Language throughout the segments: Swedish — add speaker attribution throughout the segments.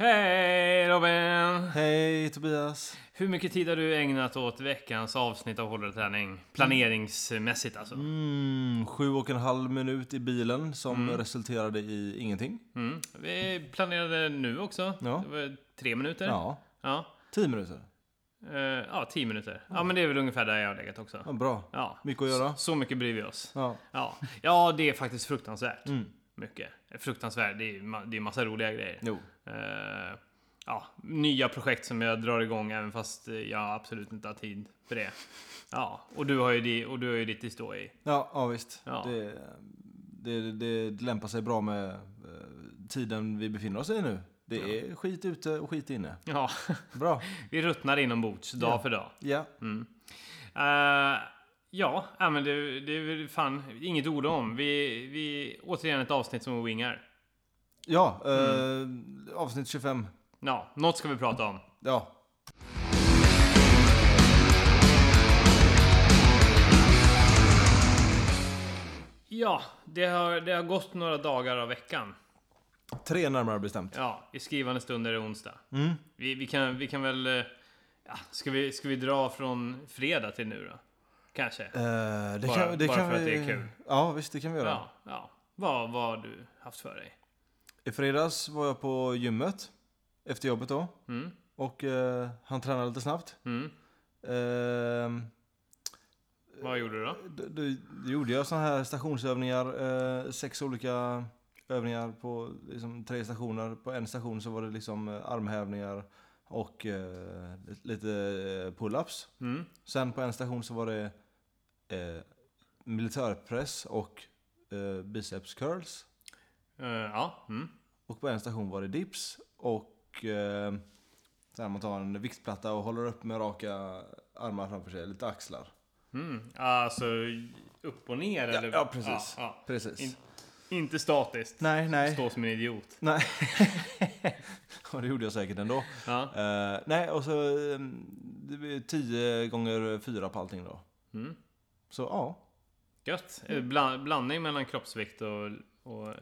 Speaker 1: Hej Robin!
Speaker 2: Hej Tobias.
Speaker 1: Hur mycket tid har du ägnat åt veckans avsnitt av Hårdare träning? Planeringsmässigt alltså.
Speaker 2: Mm, sju och en halv minut i bilen som resulterade i ingenting.
Speaker 1: Mm. Vi planerade nu också.
Speaker 2: Ja.
Speaker 1: Det var tre minuter.
Speaker 2: Ja,
Speaker 1: Ja,
Speaker 2: tio minuter.
Speaker 1: Eh, ja tio minuter. Ja, men det är väl ungefär där jag har legat också.
Speaker 2: Ja, bra.
Speaker 1: Ja,
Speaker 2: Mycket att göra.
Speaker 1: så mycket bryr vi oss.
Speaker 2: Ja.
Speaker 1: Ja, ja det är faktiskt fruktansvärt
Speaker 2: Mm.
Speaker 1: mycket. Fruktansvärt, det är ju ma- det är massa roliga grejer.
Speaker 2: Jo.
Speaker 1: Eh, ja, nya projekt som jag drar igång även fast eh, jag absolut inte har tid för det. Ja, och du har ju, di, och du har ju ditt att stå i.
Speaker 2: Ja, ja visst.
Speaker 1: Ja.
Speaker 2: Det, det, det lämpar sig bra med eh, tiden vi befinner oss i nu. Det är skit ute och skit inne.
Speaker 1: Ja,
Speaker 2: Bra.
Speaker 1: vi ruttnar inombords dag
Speaker 2: Ja.
Speaker 1: för dag.
Speaker 2: Ja.
Speaker 1: Mm. Eh, ja, ja, men det, det är väl fan inget ord om. Vi, vi, återigen ett avsnitt som wingar.
Speaker 2: Ja, eh,
Speaker 1: Mm.
Speaker 2: avsnitt 25.
Speaker 1: Ja, något ska vi prata om.
Speaker 2: Ja.
Speaker 1: Ja, det har, det har gått några dagar av veckan.
Speaker 2: Tre närmare bestämt.
Speaker 1: Ja, i skrivande stund är det onsdag.
Speaker 2: Mm.
Speaker 1: Vi, vi, kan, vi kan väl... eh, Ja, ska, vi, ska vi dra från fredag till nu då? Kanske?
Speaker 2: Eh, det
Speaker 1: Bara-
Speaker 2: kan, det
Speaker 1: bara
Speaker 2: kan
Speaker 1: för
Speaker 2: vi...
Speaker 1: att det är kul.
Speaker 2: Ja, visst det kan vi göra.
Speaker 1: Ja. ja. Vad, vad har du haft för dig?
Speaker 2: I fredags var jag på gymmet. Efter jobbet då.
Speaker 1: Mm,
Speaker 2: Och eh, han tränade lite snabbt.
Speaker 1: mm.
Speaker 2: Ehm,
Speaker 1: Vad gjorde du då?
Speaker 2: då, då gjorde jag sådana här stationsövningar. Eh, sex olika övningar på liksom, tre stationer. På en station så var det liksom eh, armhävningar och eh, li- lite eh, pull-ups.
Speaker 1: Mm.
Speaker 2: Sen på en station så var det eh, militärpress och eh, biceps curls.
Speaker 1: Eh, ja. Mm.
Speaker 2: Och på en station var det dips och eh, där man tar en viktplatta och håller upp med raka armar framför sig, lite axlar.
Speaker 1: Mm. Alltså upp och ner
Speaker 2: Ja,
Speaker 1: eller?
Speaker 2: ja, precis.
Speaker 1: Ja,
Speaker 2: Precis.
Speaker 1: In- ja. Inte statiskt.
Speaker 2: nej, nej.
Speaker 1: Stå som en idiot.
Speaker 2: Nej. ja, det gjorde jag säkert ändå.
Speaker 1: Ja.
Speaker 2: Eh, nej, och så eh, det blir 10 gånger 4 på allting då.
Speaker 1: Mm.
Speaker 2: Så ja.
Speaker 1: Gött. Eh, Bla, blandning mellan kroppsvikt och, och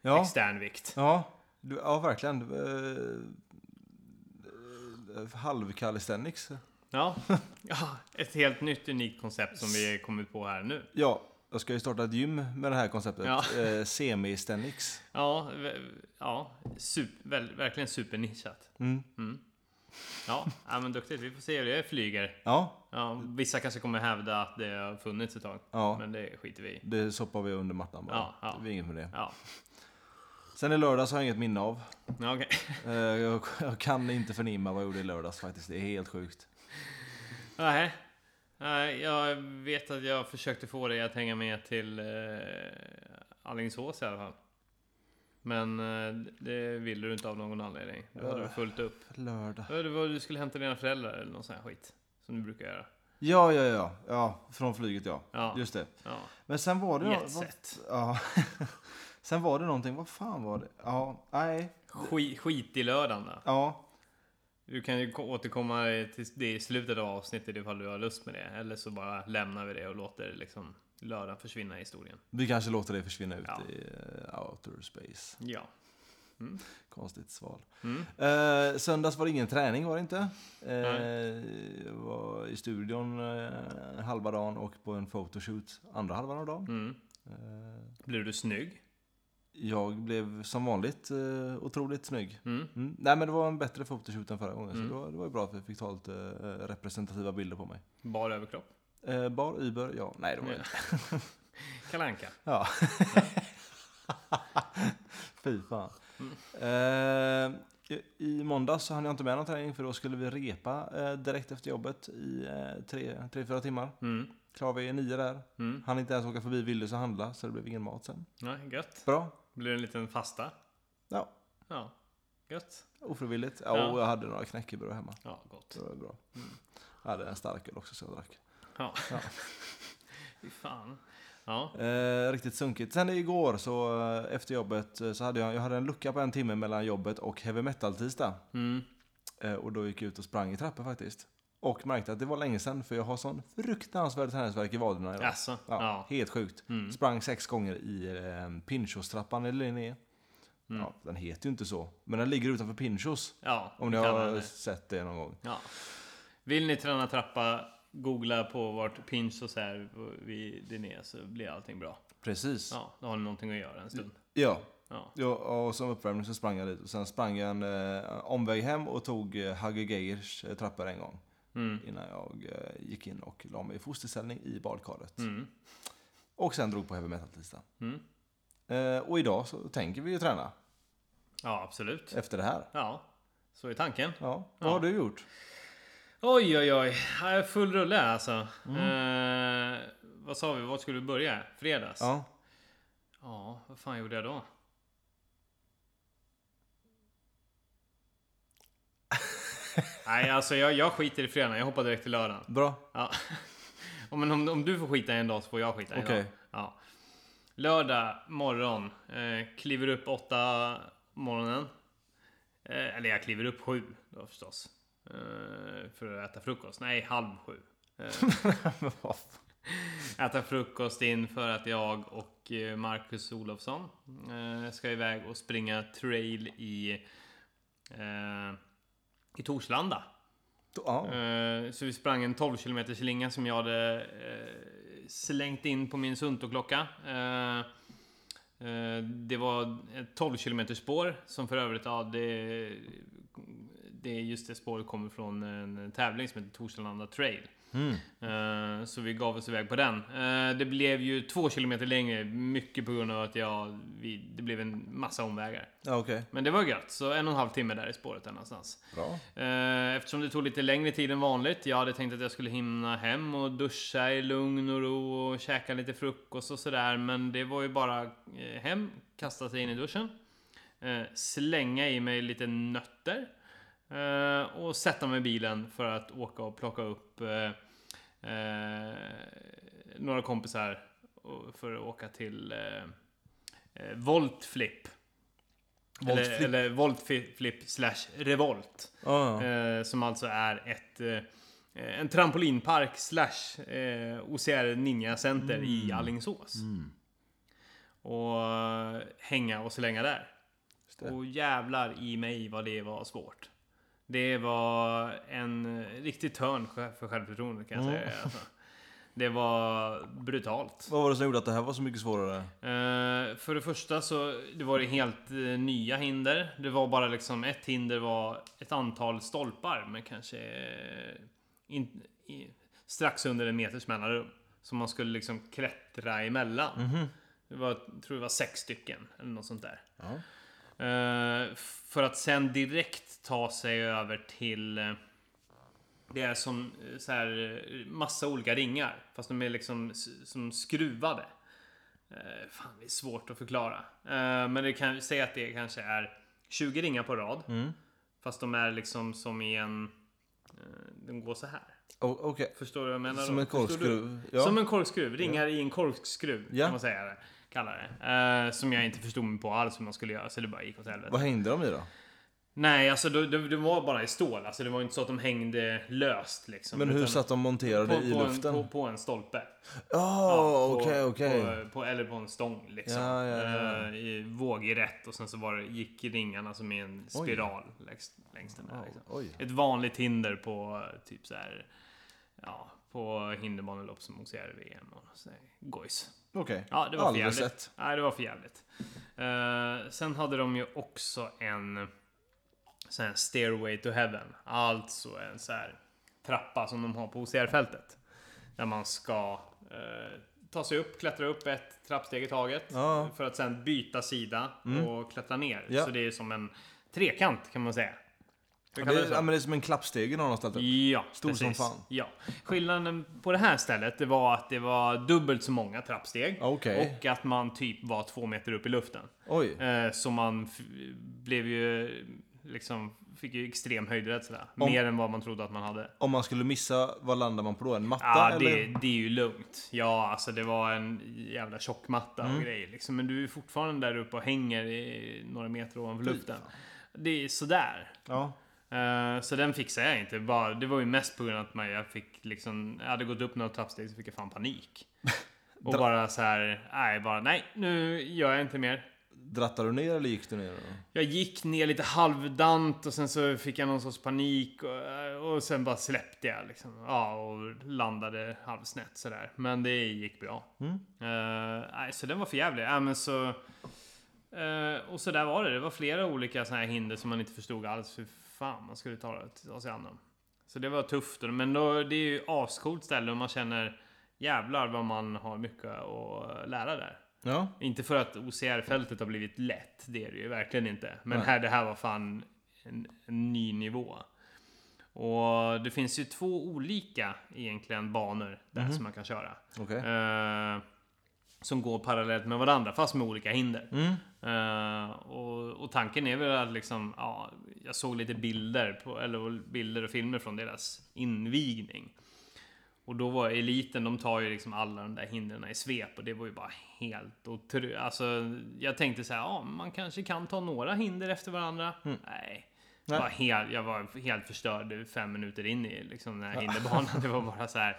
Speaker 2: Ja,
Speaker 1: extern vikt.
Speaker 2: ja, du, ja verkligen. Eh, eh, Halvcalisthenics.
Speaker 1: Ja. ja. Ett helt nytt unikt koncept som vi kommit på här nu.
Speaker 2: Ja, jag ska ju starta ett gym med det här konceptet.
Speaker 1: Ja.
Speaker 2: Eh, Semi-stenics.
Speaker 1: Ja, ve- ja sup- väl, verkligen supernischat.
Speaker 2: Mm.
Speaker 1: Mm. Ja, ja, men duktigt. Vi får se hur det flyger.
Speaker 2: Ja,
Speaker 1: Ja, vissa kanske kommer hävda att det har funnits ett tag,
Speaker 2: Ja,
Speaker 1: men det skiter vi i.
Speaker 2: det soppar vi under mattan bara.
Speaker 1: Ja, ja.
Speaker 2: Det är inget med det.
Speaker 1: Ja,
Speaker 2: Sen i lördags har jag inget minne av.
Speaker 1: ja okej.
Speaker 2: Eh, Jag, jag kan inte förnimma vad jag gjorde i lördags faktiskt. Det är helt sjukt.
Speaker 1: Nej. Nej, jag vet att jag försökte få dig att hänga med till eh, Alingsås i alla fall. Men eh, det ville du inte av någon anledning. Du hade du fullt upp.
Speaker 2: Lördag.
Speaker 1: Ja, Det var du skulle hämta dina föräldrar eller någon sån här skit. Som du brukar göra.
Speaker 2: Ja, ja, ja. Ja, från flyget ja.
Speaker 1: Ja.
Speaker 2: Just det.
Speaker 1: ja.
Speaker 2: Men sen var det...
Speaker 1: Jet
Speaker 2: vad-
Speaker 1: set.
Speaker 2: Ja. sen var det någonting. Vad fan var det? Ja, nej.
Speaker 1: Skit, skit i lördagen då.
Speaker 2: Ja.
Speaker 1: Du kan ju ko- återkomma till det i slutet av avsnittet ifall du har lust med det. Eller så bara lämnar vi det och låter liksom lördagen försvinna i historien.
Speaker 2: Vi kanske låter det försvinna ut
Speaker 1: Ja.
Speaker 2: i eh, outer space.
Speaker 1: Ja.
Speaker 2: Konstigt sval.
Speaker 1: Mm.
Speaker 2: Eh, söndags var det ingen träning var det inte. Eh,
Speaker 1: Nej.
Speaker 2: jag var i studion eh, halva dagen och på en photoshoot andra halvan av dagen.
Speaker 1: Mm.
Speaker 2: Eh,
Speaker 1: Blir du snygg?
Speaker 2: jag blev som vanligt eh, otroligt snygg.
Speaker 1: Mm.
Speaker 2: Mm. Nej men det var en bättre photoshoot än förra gången
Speaker 1: Mm.
Speaker 2: så det var, det var ju bra att vi fick ta lite eh, representativa bilder på mig.
Speaker 1: Bar överkropp?
Speaker 2: Eh, bar, Uber, ja. Nej det var
Speaker 1: Ja.
Speaker 2: inte.
Speaker 1: Kalle Anka?
Speaker 2: Ja. Fy fan. Eh, i- I måndags så hann jag inte med någon träning för då skulle vi repa eh, direkt efter jobbet i eh, tre, tre, fyra timmar.
Speaker 1: Mm.
Speaker 2: Klar vi är nio där.
Speaker 1: Mm.
Speaker 2: Han inte ens åka förbi Willys och handla så det blev ingen mat sen.
Speaker 1: Ja, gött.
Speaker 2: Bra.
Speaker 1: Blir det en liten fasta?
Speaker 2: Ja,
Speaker 1: Ja. Gött.
Speaker 2: ofrivilligt. Ja,
Speaker 1: Ja.
Speaker 2: Och jag hade några knäckebröd hemma.
Speaker 1: Ja, gott.
Speaker 2: Så det var bra. Jag hade en starköl också så jag drack.
Speaker 1: Ja.
Speaker 2: Ja.
Speaker 1: Fy fan. Ja.
Speaker 2: Eh, riktigt sunkigt. Sen igår så eh, efter jobbet eh, så hade jag, jag hade en lucka på en timme mellan jobbet och heavy metal tisdag.
Speaker 1: Mm.
Speaker 2: Eh, Och då gick jag ut och sprang i trappor faktiskt. Och märkte att det var länge sedan för jag har sån fruktansvärd träningsvärk i vaderna idag.
Speaker 1: Alltså.
Speaker 2: Ja,
Speaker 1: Ja.
Speaker 2: Helt sjukt.
Speaker 1: Mm.
Speaker 2: Sprang sex gånger i eh, Pinchos-trappan i Linné.
Speaker 1: Mm.
Speaker 2: Ja, den heter ju inte så. Men den ligger utanför Pinchos.
Speaker 1: Ja,
Speaker 2: Om ni
Speaker 1: det kan man,
Speaker 2: har
Speaker 1: eh,
Speaker 2: sett det någon gång.
Speaker 1: Ja. Vill ni träna trappa, googla på vart pinch och så här vid Linné så blir allting bra.
Speaker 2: Precis. Ja,
Speaker 1: Ja, då har ni någonting att göra en stund.
Speaker 2: ja.
Speaker 1: Ja.
Speaker 2: och som uppvärmning så sprang jag dit. Och sen sprang jag en eh, omväg hem och tog eh, Hagge Geijers eh, trappor en gång.
Speaker 1: Mm.
Speaker 2: Innan jag eh, gick in och la mig i fosterställning i badkaret.
Speaker 1: Mm.
Speaker 2: Och sen drog på heavy metal-listan.
Speaker 1: Mm.
Speaker 2: Eh, och idag så tänker vi ju träna
Speaker 1: Ja, absolut.
Speaker 2: efter det här.
Speaker 1: Ja, så är tanken.
Speaker 2: Ja, vad
Speaker 1: Ja.
Speaker 2: har du gjort?
Speaker 1: Oj, oj, oj. Här är Full rulle här, alltså.
Speaker 2: Mm.
Speaker 1: Eh, vad sa vi? Vad skulle vi börja? Fredags?
Speaker 2: Ja.
Speaker 1: Ja, vad fan gjorde jag då? Nej, alltså jag, jag skiter i fredagen. Jag hoppar direkt till lördagen.
Speaker 2: Bra.
Speaker 1: Ja. Ja, men om, om du får skita en dag så får jag skita en
Speaker 2: Okej.
Speaker 1: dag. Ja. Lördag morgon. Eh, kliver upp åtta morgonen. Eh, eller jag kliver upp sju då förstås. Eh, för att äta frukost. Nej, halv sju.
Speaker 2: Men vad fan.
Speaker 1: Äta frukost in för att jag och eh, Marcus Olofsson eh, ska iväg och springa trail i, eh, i Torslanda.
Speaker 2: ja.
Speaker 1: Eh, Så vi sprang en 12 km slinga som jag hade eh, slängt in på min Sunto-klocka. Eh, eh, Det var ett 12 km spår som för övrigt, ja, det, det är just det spåret kommer från en tävling som heter Torslanda Trail.
Speaker 2: Mm.
Speaker 1: Eh, Så vi gav oss iväg på den. Eh, Det blev ju två kilometer längre, mycket på grund av att jag, vi, det blev en massa omvägar.
Speaker 2: Ja, okej.
Speaker 1: Men det var gött, så en och en halv timme där i spåret där någonstans.
Speaker 2: Bra.
Speaker 1: Eh, Eftersom det tog lite längre tid än vanligt. Jag hade tänkt att jag skulle hinna hem och duscha i lugn och ro och käka lite frukost och sådär. Men det var ju bara eh, hem, kasta sig in i duschen, eh, slänga i mig lite nötter eh, och sätta mig i bilen för att åka och plocka upp eh, eh, några kompisar och- för att åka till eh, eh, Voltflip.
Speaker 2: Voltflip.
Speaker 1: Eller, eller Voltflip slash Revolt.
Speaker 2: Ja, ja.
Speaker 1: Eh, som alltså är ett, eh, en trampolinpark slash eh, OCR Ninja Center i
Speaker 2: Mm.
Speaker 1: Alingsås. Och eh, hänga och slänga där.
Speaker 2: Just det.
Speaker 1: Och jävlar i mig vad det var svårt. Det var en eh, riktig törn sj- för självförtroendet kan jag säga. Alltså. Det var brutalt.
Speaker 2: Vad var det som gjorde att det här var så mycket svårare?
Speaker 1: Eh, för det första så det var det helt eh, nya hinder. Det var bara liksom ett hinder var ett antal stolpar med kanske eh, in, i, strax under en meters mellanrum. Som man skulle liksom klättra emellan. Det var, jag tror det var sex stycken eller något sånt där.
Speaker 2: Ja.
Speaker 1: Eh, för att sen direkt ta sig över till eh, det är som eh, så här, eh, massa olika ringar. Fast de är liksom s- som skruvade. Eh, Fan, det är svårt att förklara. Eh, Men det kan säga att det kanske är 20 ringar på rad.
Speaker 2: Mm.
Speaker 1: Fast de är liksom som i en... eh, De går så här.
Speaker 2: O- Okej.
Speaker 1: Förstår du vad jag menar?
Speaker 2: Som
Speaker 1: då?
Speaker 2: en
Speaker 1: Förstår du?
Speaker 2: korkskruv. Ja.
Speaker 1: Som en korkskruv. Ringar i en korkskruv.
Speaker 2: Ja.
Speaker 1: Kan man säga det. Kalla det. Eh, som jag inte förstod mig på alls hur man skulle göra. Så det bara gick åt helvete.
Speaker 2: Vad hängde de i då?
Speaker 1: Nej, alltså det, det, det var bara i stål. Alltså det var inte så att de hängde löst liksom.
Speaker 2: Men hur
Speaker 1: Utan
Speaker 2: satt de monterade
Speaker 1: på,
Speaker 2: i
Speaker 1: på
Speaker 2: luften?
Speaker 1: En, på, på en stolpe.
Speaker 2: Ja,
Speaker 1: på-
Speaker 2: okej, okej.
Speaker 1: på- på- Eller på en stång liksom.
Speaker 2: Ja, ja, ja.
Speaker 1: Eh, I vågrätt och sen så var det, gick ringarna som i en spiral längs, längs den där. Liksom.
Speaker 2: Oj.
Speaker 1: Ett vanligt hinder på eh, typ så här, ja, på hinderbanelopp som OCR-VM och så här, gojs.
Speaker 2: Okej.
Speaker 1: Ja, det var för
Speaker 2: Aldrig
Speaker 1: jävligt.
Speaker 2: sett.
Speaker 1: Nej, det var för jävligt. Eh, sen hade de ju också en sån här stairway to heaven. Alltså en så här trappa som de har på OCR-fältet. Där man ska eh, ta sig upp, klättra upp ett trappsteg i taget.
Speaker 2: Ja. Mm.
Speaker 1: För att sen byta sida och klättra ner.
Speaker 2: Ja.
Speaker 1: Så det är som en trekant kan man säga.
Speaker 2: Ja,
Speaker 1: Jag kallar
Speaker 2: Det
Speaker 1: det
Speaker 2: är,
Speaker 1: så.
Speaker 2: ja, men det är som en klappstege någon har ställt upp.
Speaker 1: Ja,
Speaker 2: Stor som
Speaker 1: precis.
Speaker 2: fan.
Speaker 1: Ja. Skillnaden på det här stället det var att det var dubbelt så många trappsteg.
Speaker 2: Okej.
Speaker 1: Och att man typ var två meter upp i luften.
Speaker 2: Oj.
Speaker 1: Eh, Så man f- blev ju liksom, fick ju extrem höjdrädsla.
Speaker 2: Om-
Speaker 1: Mer än vad man trodde att man hade.
Speaker 2: Om man skulle missa, vad landar man på då? En matta
Speaker 1: Ja, det,
Speaker 2: eller?
Speaker 1: det är ju lugnt. Ja, alltså det var en jävla tjockmatta
Speaker 2: Mm.
Speaker 1: och grejer liksom. Men du är fortfarande där uppe och hänger i några meter ovanför
Speaker 2: Typ.
Speaker 1: luften. Det är sådär.
Speaker 2: Ja.
Speaker 1: Eh, Så den fixade jag inte. Bara, det var ju mest på grund av att man, jag fick liksom, jag hade gått upp några trappsteg så fick jag fan panik. Och bara så här, nej, bara nej, nu gör jag inte mer.
Speaker 2: drattade du ner eller gick du ner? då?
Speaker 1: Jag gick ner lite halvdant och sen så fick jag någon sorts panik och, och sen bara släppte jag liksom. Ja, och landade halvsnett sådär. Men det gick bra.
Speaker 2: Mm.
Speaker 1: Eh, nej, så den var för jävlig. Ja, men så, eh, och så där var det. Det var flera olika såna här hinder som man inte förstod alls hur fan man skulle ta, ta sig an dem. Så det var tufft. Men då, det är ju ascoolt ställe och man känner jävlar vad man har mycket att lära där.
Speaker 2: Ja.
Speaker 1: Inte för att OCR-fältet har blivit lätt, det är det ju verkligen inte. Men
Speaker 2: Nej.
Speaker 1: här, det här var fan en, en ny nivå. Och det finns ju två olika egentligen banor där som man kan köra.
Speaker 2: Okej.
Speaker 1: Eh, som går parallellt med varandra fast med olika hinder.
Speaker 2: Mm.
Speaker 1: Eh, och, och tanken är väl att liksom, ja, jag såg lite bilder, på, eller bilder och filmer från deras invigning. Och då var eliten, de tar ju liksom alla de där hindren i svep och det var ju bara helt otroligt. Alltså, jag tänkte så här, ja, man kanske kan ta några hinder efter varandra. Nej.
Speaker 2: Nej.
Speaker 1: Jag var, helt, jag var helt förstörd fem minuter in i liksom, den här hinderbanan. Det var bara så här.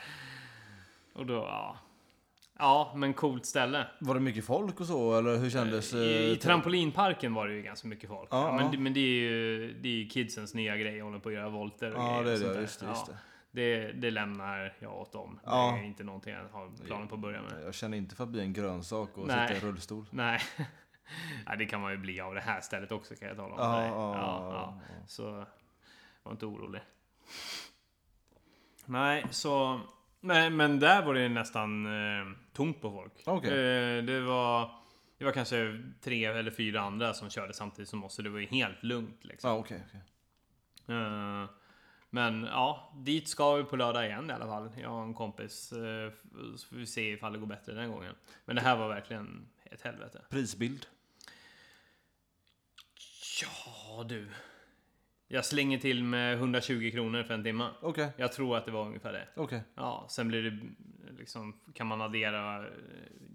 Speaker 1: Och då, ja. Ja, men coolt ställe.
Speaker 2: Var det mycket folk och så eller hur kändes?
Speaker 1: I,
Speaker 2: eh,
Speaker 1: I trampolinparken var det ju ganska mycket folk.
Speaker 2: Ja,
Speaker 1: men,
Speaker 2: ja.
Speaker 1: det- men det är ju det är ju kidsens nya grej, håller på att göra volter och
Speaker 2: Ja,
Speaker 1: grejer
Speaker 2: det
Speaker 1: och
Speaker 2: är
Speaker 1: sånt
Speaker 2: det.
Speaker 1: där.
Speaker 2: Just det,
Speaker 1: Ja,
Speaker 2: just det.
Speaker 1: det, det lämnar jag åt dem.
Speaker 2: Ja.
Speaker 1: Det är inte någonting jag har planer på att börja med.
Speaker 2: Jag känner inte för att bli en grönsak och
Speaker 1: Nej.
Speaker 2: sitta i rullstol.
Speaker 1: Nej. Nej, det kan man ju bli av det här stället också kan jag tala om.
Speaker 2: Ja,
Speaker 1: Nej.
Speaker 2: ja,
Speaker 1: ja. Så var inte orolig. Nej, så... Men, men där var det nästan eh, tomt på folk.
Speaker 2: Okej.
Speaker 1: Eh, det var... Det var kanske tre eller fyra andra som körde samtidigt som oss, så det var ju helt lugnt liksom.
Speaker 2: Ja, okej. okej.
Speaker 1: Eh, Men ja, dit ska vi på lördag igen i alla fall. Jag och en kompis. eh, Så får vi se ifall det går bättre den gången. Men det här var verkligen ett helvete.
Speaker 2: Prisbild.
Speaker 1: Ja du. Jag slänger till med 120 kronor för en timme.
Speaker 2: Okej,
Speaker 1: Jag tror att det var ungefär det.
Speaker 2: okej.
Speaker 1: Ja, sen blir det liksom, kan man addera eh,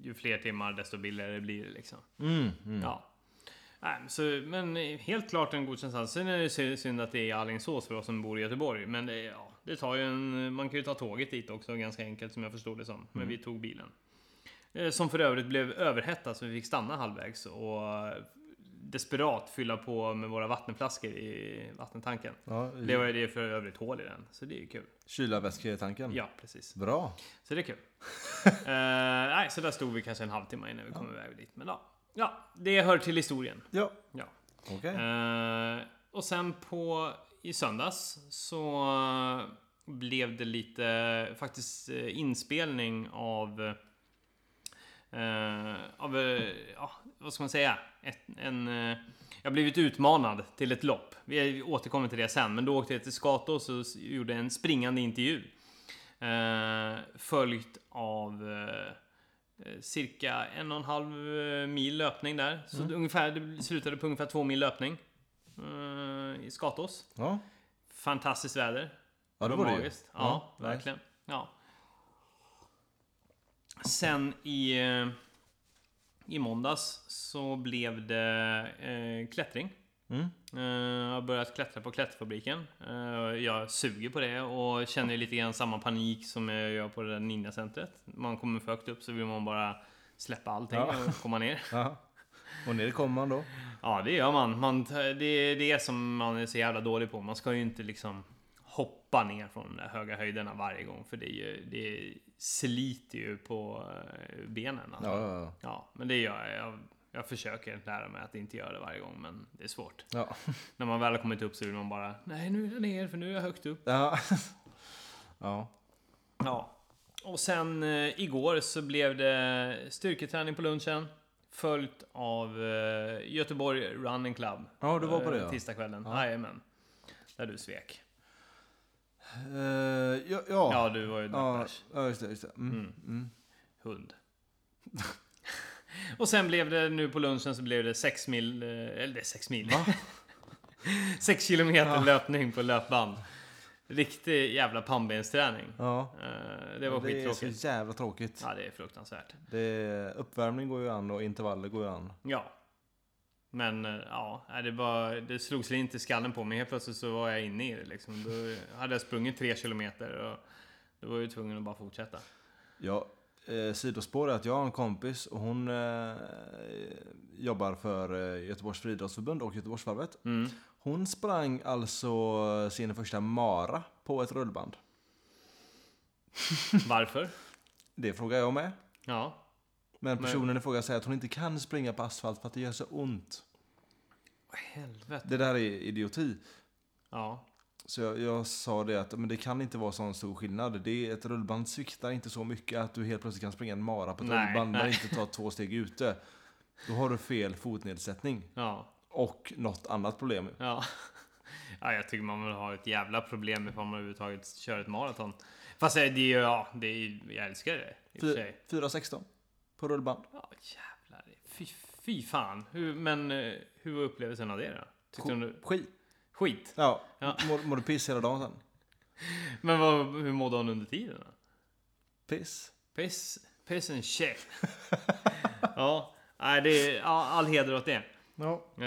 Speaker 1: ju fler timmar desto billigare blir det liksom.
Speaker 2: Mm, mm.
Speaker 1: Ja. Nej, men så, men eh, helt klart en godkänd sats. Sen är det sy- synd att det är i Alingsås för oss som bor i Göteborg. Men det, ja, det tar ju en, man kan ju ta tåget dit också ganska enkelt som jag förstod det som. Men
Speaker 2: Mm.
Speaker 1: vi tog bilen. Eh, Som för övrigt blev överhettad så vi fick stanna halvvägs och eh, desperat fylla på med våra vattenflaskor i vattentanken.
Speaker 2: Ja,
Speaker 1: Det
Speaker 2: i
Speaker 1: var ju det för övrigt hål i den, så det är ju kul.
Speaker 2: Kylarvätsketanken.
Speaker 1: Ja, precis.
Speaker 2: Bra.
Speaker 1: Så det är kul. Eh, nej, så där stod vi kanske en halvtimme innan vi kom iväg dit. Men ja, ja, det hör till historien.
Speaker 2: Ja.
Speaker 1: Ja.
Speaker 2: Okej.
Speaker 1: Eh, och sen på i söndags så blev det lite faktiskt eh, inspelning av eh, av, eh, ja, vad ska man säga? Ett, en, eh, jag har blivit utmanad till ett lopp. Vi återkommer till det sen, men då åkte jag till Skatås och s- gjorde en springande intervju. Eh, följt av eh, eh, cirka en och en halv eh, mil löpning där. Så
Speaker 2: Mm.
Speaker 1: det ungefär, det slutade på ungefär två mil löpning. eh, I Skatås.
Speaker 2: Ja.
Speaker 1: Fantastiskt väder.
Speaker 2: ja, det var det ju.
Speaker 1: magiskt. Ja,
Speaker 2: Ja,
Speaker 1: verkligen. Ja. Sen i, eh, i måndags så blev det eh, klättring.
Speaker 2: Mm.
Speaker 1: Eh, Jag har börjat klättra på klätterfabriken. Eh, Jag suger på det och känner lite grann samma panik som jag gör på det där ninjacentret. Man kommer för högt upp så vill man bara släppa allting
Speaker 2: Ja.
Speaker 1: och komma ner.
Speaker 2: Ja. Och ner kommer man då.
Speaker 1: Ja, det gör man. man t- det är det som man är så jävla dålig på. Man ska ju inte liksom hoppa ner från de där höga höjderna varje gång för det, är ju, det sliter ju på eh, benen. Alltså.
Speaker 2: Ja, ja, ja.
Speaker 1: Ja, men det gör jag. jag. Jag försöker lära mig att inte göra det varje gång, men det är svårt.
Speaker 2: ja.
Speaker 1: När man väl har kommit upp så vill man bara Nej nu är jag ner för nu är jag högt upp.
Speaker 2: Ja. ja.
Speaker 1: Ja. Och sen eh, igår så blev det styrketräning på lunchen. Följt av eh, Göteborg Running Club.
Speaker 2: Ja, du var på det,
Speaker 1: Eh,
Speaker 2: ja.
Speaker 1: Tisdagskvällen.
Speaker 2: Ja.
Speaker 1: Jajamän. Där du svek.
Speaker 2: Eh, ja, ja.
Speaker 1: Ja, du var ju
Speaker 2: ja.
Speaker 1: ja.
Speaker 2: ja, just det. Just det. Mm. Mm.
Speaker 1: hund. Och sen blev det nu på lunchen så blev det 6 mil, eh, eller det är 6 mil. 6 kilometer löpning på löpband. Riktig jävla pannbensträning.
Speaker 2: Ja.
Speaker 1: Eh, Det var
Speaker 2: det är så
Speaker 1: skittråkigt.
Speaker 2: jävla tråkigt.
Speaker 1: Ja, det är fruktansvärt.
Speaker 2: Det är, uppvärmning går ju an och intervaller går ju an.
Speaker 1: Ja. Men eh, ja, nej, det, var, det slog sig inte i skallen på mig. Helt plötsligt så var jag inne i det liksom. Då hade jag sprungit tre kilometer och då var jag ju tvungen att bara fortsätta.
Speaker 2: Ja, eh, sidospår är att jag har en kompis och hon eh, jobbar för eh, Göteborgs friidrottsförbund och Göteborgsvarvet.
Speaker 1: Mm.
Speaker 2: Hon sprang alltså sin första mara på ett rullband.
Speaker 1: Varför?
Speaker 2: Det frågar jag med.
Speaker 1: Ja.
Speaker 2: Men personen i fråga säger att hon inte kan springa på asfalt för att det gör så ont.
Speaker 1: Helvete.
Speaker 2: Det där är idioti.
Speaker 1: Ja.
Speaker 2: Så jag, jag sa det att men det kan inte vara sån stor skillnad. Det är, ett rullband sviktar inte så mycket att du helt plötsligt kan springa en mara på ett
Speaker 1: Nej,
Speaker 2: rullband men
Speaker 1: nej.
Speaker 2: inte ta två steg ute. Då har du fel fotnedsättning.
Speaker 1: Ja.
Speaker 2: Och något annat problem.
Speaker 1: Ja. ja, jag tycker man har ett jävla problem ifall man överhuvudtaget kör ett maraton. Fast eh, det är ju, ja, det är, jag älskar det i och för
Speaker 2: Fy-
Speaker 1: sig.
Speaker 2: 4,16 på rullband.
Speaker 1: Ja, jävlar. Fy, fy fan. Hur, men eh, hur var upplevelsen av det då? Tyckte
Speaker 2: Ko-
Speaker 1: hon du...
Speaker 2: Skit.
Speaker 1: Skit.
Speaker 2: Ja,
Speaker 1: Ja.
Speaker 2: Mår, mår du piss hela dagen sen?
Speaker 1: Men vad, hur mådde hon under tiden då?
Speaker 2: Piss.
Speaker 1: Piss, piss and shit. ja, nej, det är ja, all heder åt det.
Speaker 2: Ja.
Speaker 1: Eh,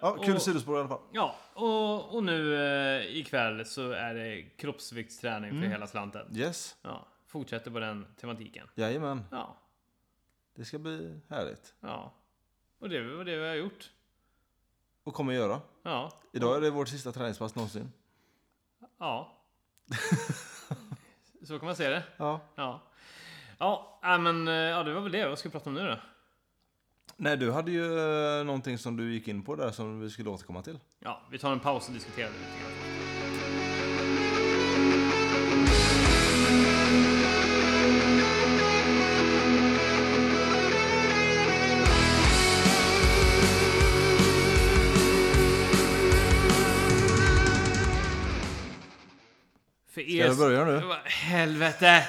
Speaker 2: Ja, kul
Speaker 1: och-
Speaker 2: sidospår i alla fall.
Speaker 1: Ja, och, och nu eh, ikväll så är det kroppsviktsträning för
Speaker 2: Mm.
Speaker 1: hela slanten.
Speaker 2: Yes.
Speaker 1: Ja, fortsätter på den tematiken.
Speaker 2: Jajamän.
Speaker 1: Ja,
Speaker 2: Det ska bli härligt.
Speaker 1: ja. Och det var det vi har gjort.
Speaker 2: Och kommer göra.
Speaker 1: Ja,
Speaker 2: Idag är det vårt sista träningspass någonsin.
Speaker 1: ja. så kan man se det.
Speaker 2: Ja.
Speaker 1: Ja. Ja, nej, men eh, ja, det var väl det. Vad ska vi prata om nu då?
Speaker 2: Nej, du hade ju eh, någonting som du gick in på där som vi skulle återkomma till.
Speaker 1: Ja, vi tar en paus och diskuterar det lite grann. För er...
Speaker 2: jag börja nu?
Speaker 1: Vad- Helvete!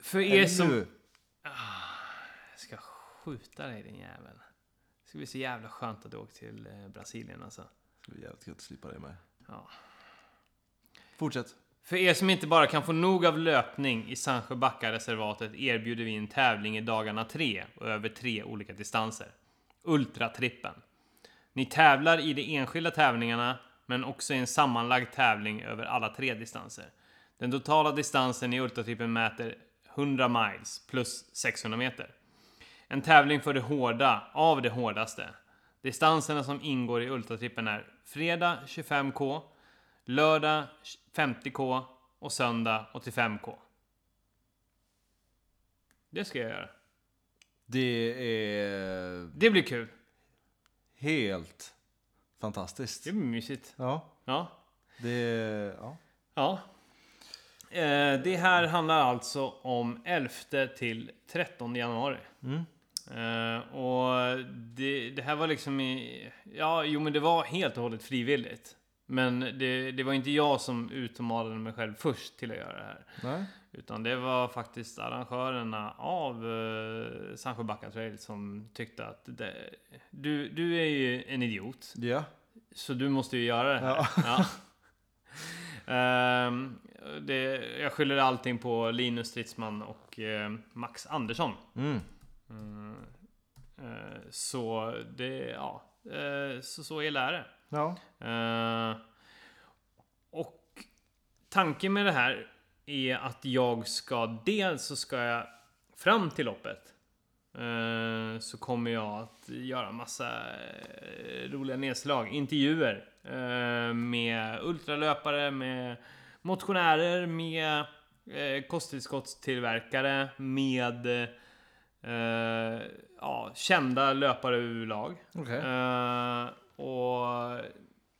Speaker 1: För er som...
Speaker 2: Nu.
Speaker 1: Jag ska skjuta dig din jävel. Det ska bli så jävla skönt att du åker till eh, Brasilien alltså.
Speaker 2: Det blir jävligt gött att slippa dig med.
Speaker 1: Ja.
Speaker 2: Fortsätt.
Speaker 1: För er som inte bara kan få nog av löpning i Sandsjöbacka-reservatet erbjuder vi en tävling i dagarna tre och över tre olika distanser. Ultratrippen. Ni tävlar i de enskilda tävlingarna, men också i en sammanlagd tävling över alla tre distanser. Den totala distansen i ultratrippen mäter 100 miles plus 600 meter. En tävling för det hårda av det hårdaste. Distanserna som ingår i ultratrippen är fredag 25k, lördag 50k och söndag 85k. Det ska jag göra.
Speaker 2: Det är
Speaker 1: Det blir kul.
Speaker 2: helt fantastiskt.
Speaker 1: Det blir mysigt.
Speaker 2: Ja,
Speaker 1: Ja.
Speaker 2: det... Ja.
Speaker 1: Ja. Eh, Det här handlar alltså om 11 till 13 januari.
Speaker 2: Mm.
Speaker 1: Eh, Och det, det här var liksom i... Ja, jo men det var helt och hållet frivilligt. Men det, det var inte jag som utmanade mig själv först till att göra det här.
Speaker 2: Nej.
Speaker 1: Utan det var faktiskt arrangörerna av eh, Sandsjöbacka trail som tyckte att det, du, du är ju en idiot.
Speaker 2: Ja.
Speaker 1: Så du måste ju göra det här.
Speaker 2: Ja.
Speaker 1: Ja. Ehm, det, jag skyller allting på Linus Stridsman och eh, Max Andersson.
Speaker 2: Mm.
Speaker 1: Mm, eh, så det, ja. Eh, så, så illa är det.
Speaker 2: Ja.
Speaker 1: Eh, och tanken med det här är att jag ska dels så ska jag fram till loppet eh, så kommer jag att göra massa eh, roliga nedslag, intervjuer eh, med ultralöpare, med motionärer, med eh, kosttillskottstillverkare, med eh, ja, kända löpare överlag.
Speaker 2: Okej.
Speaker 1: Eh, och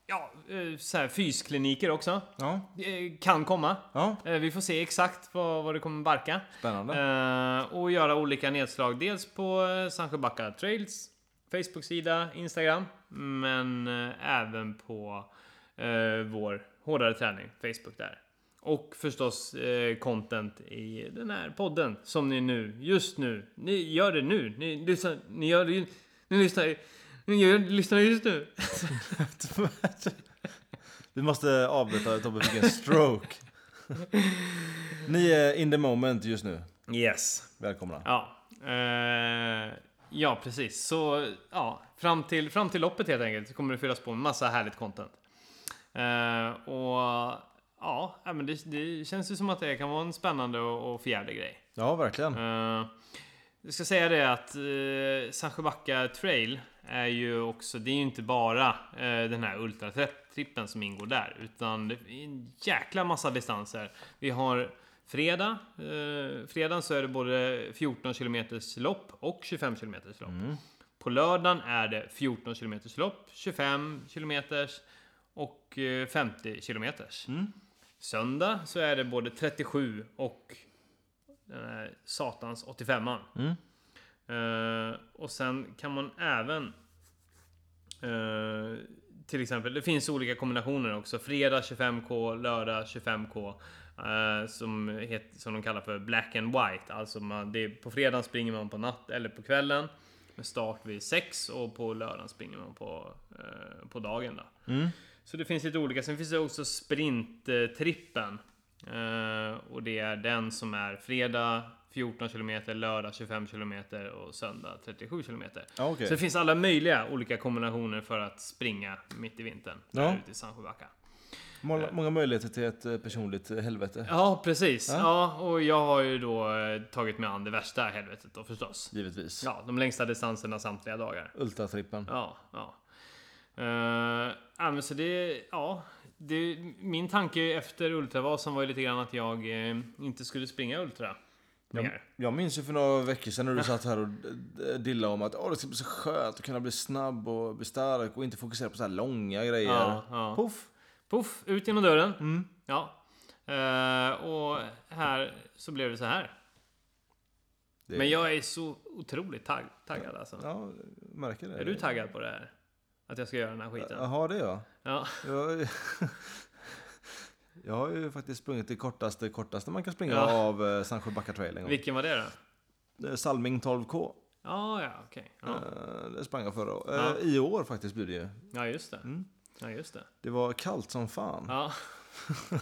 Speaker 1: ja, eh, så här, fyskliniker också.
Speaker 2: Ja.
Speaker 1: Eh, kan komma.
Speaker 2: Ja.
Speaker 1: Eh, vi får se exakt vad, vad det kommer barka.
Speaker 2: Spännande.
Speaker 1: Eh, och göra olika nedslag. Dels på eh, Sandsjöbacka Trails Facebook-sida, Instagram. Men eh, även på eh, vår hårdare träning, Facebook där. Och förstås eh, content i den här podden som ni nu, just nu, ni gör det nu. Ni lyssnar, ni gör det ju, ni lyssnar, ni gör, lyssnar just nu.
Speaker 2: Vi måste avbryta Tobbe fick en stroke. Ni är in the moment just nu.
Speaker 1: Yes.
Speaker 2: Välkomna.
Speaker 1: Ja. Eh, ja, precis. Så ja, fram till, fram till loppet helt enkelt så kommer det fyllas på med massa härligt content. Eh, och Ja, ja, men det, det känns ju som att det kan vara en spännande och, och fjärde grej.
Speaker 2: Ja, verkligen.
Speaker 1: Eh, jag ska säga det att uh, Sandsjöbacka trail är ju också, det är ju inte bara eh, den här ultratrippen som ingår där, utan det är en jäkla massa distanser. Vi har fredag, uh, fredagen så är det både 14 km lopp och 25 km lopp. På lördagen är det 14 km lopp, 25 km och eh, 50 km. Söndag så är det både 37 och den här satans 85an.
Speaker 2: Mm.
Speaker 1: Eh, och sen kan man även eh, till exempel, det finns olika kombinationer också. Fredag 25k, lördag 25k. eh, som, het, som de kallar för black and white. Alltså man, det är, på fredagen springer man på natt eller på kvällen. Med start vid 6 och på lördagen springer man på, eh, på dagen. Då.
Speaker 2: Mm.
Speaker 1: Så det finns lite olika. Sen finns det också sprinttrippen. Eh, och det är den som är fredag 14 km, lördag 25 km och söndag 37 km.
Speaker 2: Ja, okej.
Speaker 1: Så det finns alla möjliga olika kombinationer för att springa mitt i vintern.
Speaker 2: Ja.
Speaker 1: Där ute i Sandsjöbacka.
Speaker 2: Många, många möjligheter till ett eh, personligt eh, helvete.
Speaker 1: Ja, precis. Ja. och jag har ju då eh, tagit mig an det värsta helvetet då förstås.
Speaker 2: Givetvis.
Speaker 1: Ja, de längsta distanserna samtliga dagar.
Speaker 2: Ultratrippen.
Speaker 1: Ja, ja. Eh, ja, men så det, ja. Det, min tanke efter Ultravasan var ju lite grann att jag eh, inte skulle springa Ultra.
Speaker 2: Jag,
Speaker 1: mer.
Speaker 2: jag minns ju för några veckor sedan när du satt här och d- d- dillade om att åh det ska bli så skönt att kunna bli snabb och bli stark och inte fokusera på så här långa grejer.
Speaker 1: Ja, ja.
Speaker 2: Puff! Mm.
Speaker 1: Poff, ut genom dörren. Ja. Eh, och här så blev det så här.
Speaker 2: Det-
Speaker 1: Men jag är så otroligt tagg, taggad alltså.
Speaker 2: Ja, jag märker det.
Speaker 1: Är du taggad på det här? Att jag ska göra den här skiten?
Speaker 2: Jaha, det är jag.
Speaker 1: Ja.
Speaker 2: Jag, jag har ju faktiskt sprungit det kortaste, kortaste man kan springa
Speaker 1: Ja.
Speaker 2: av eh, Sandsjöbacka trail en gång.
Speaker 1: Vilken var det då?
Speaker 2: Eh, Salming 12K.
Speaker 1: Ja, ja, okej. Ja.
Speaker 2: Eh, Det sprang jag förra året.
Speaker 1: Ja.
Speaker 2: Eh, I år faktiskt blir det ju.
Speaker 1: ja, just det.
Speaker 2: Mm.
Speaker 1: Ja, just det.
Speaker 2: Det var kallt som fan.
Speaker 1: Ja.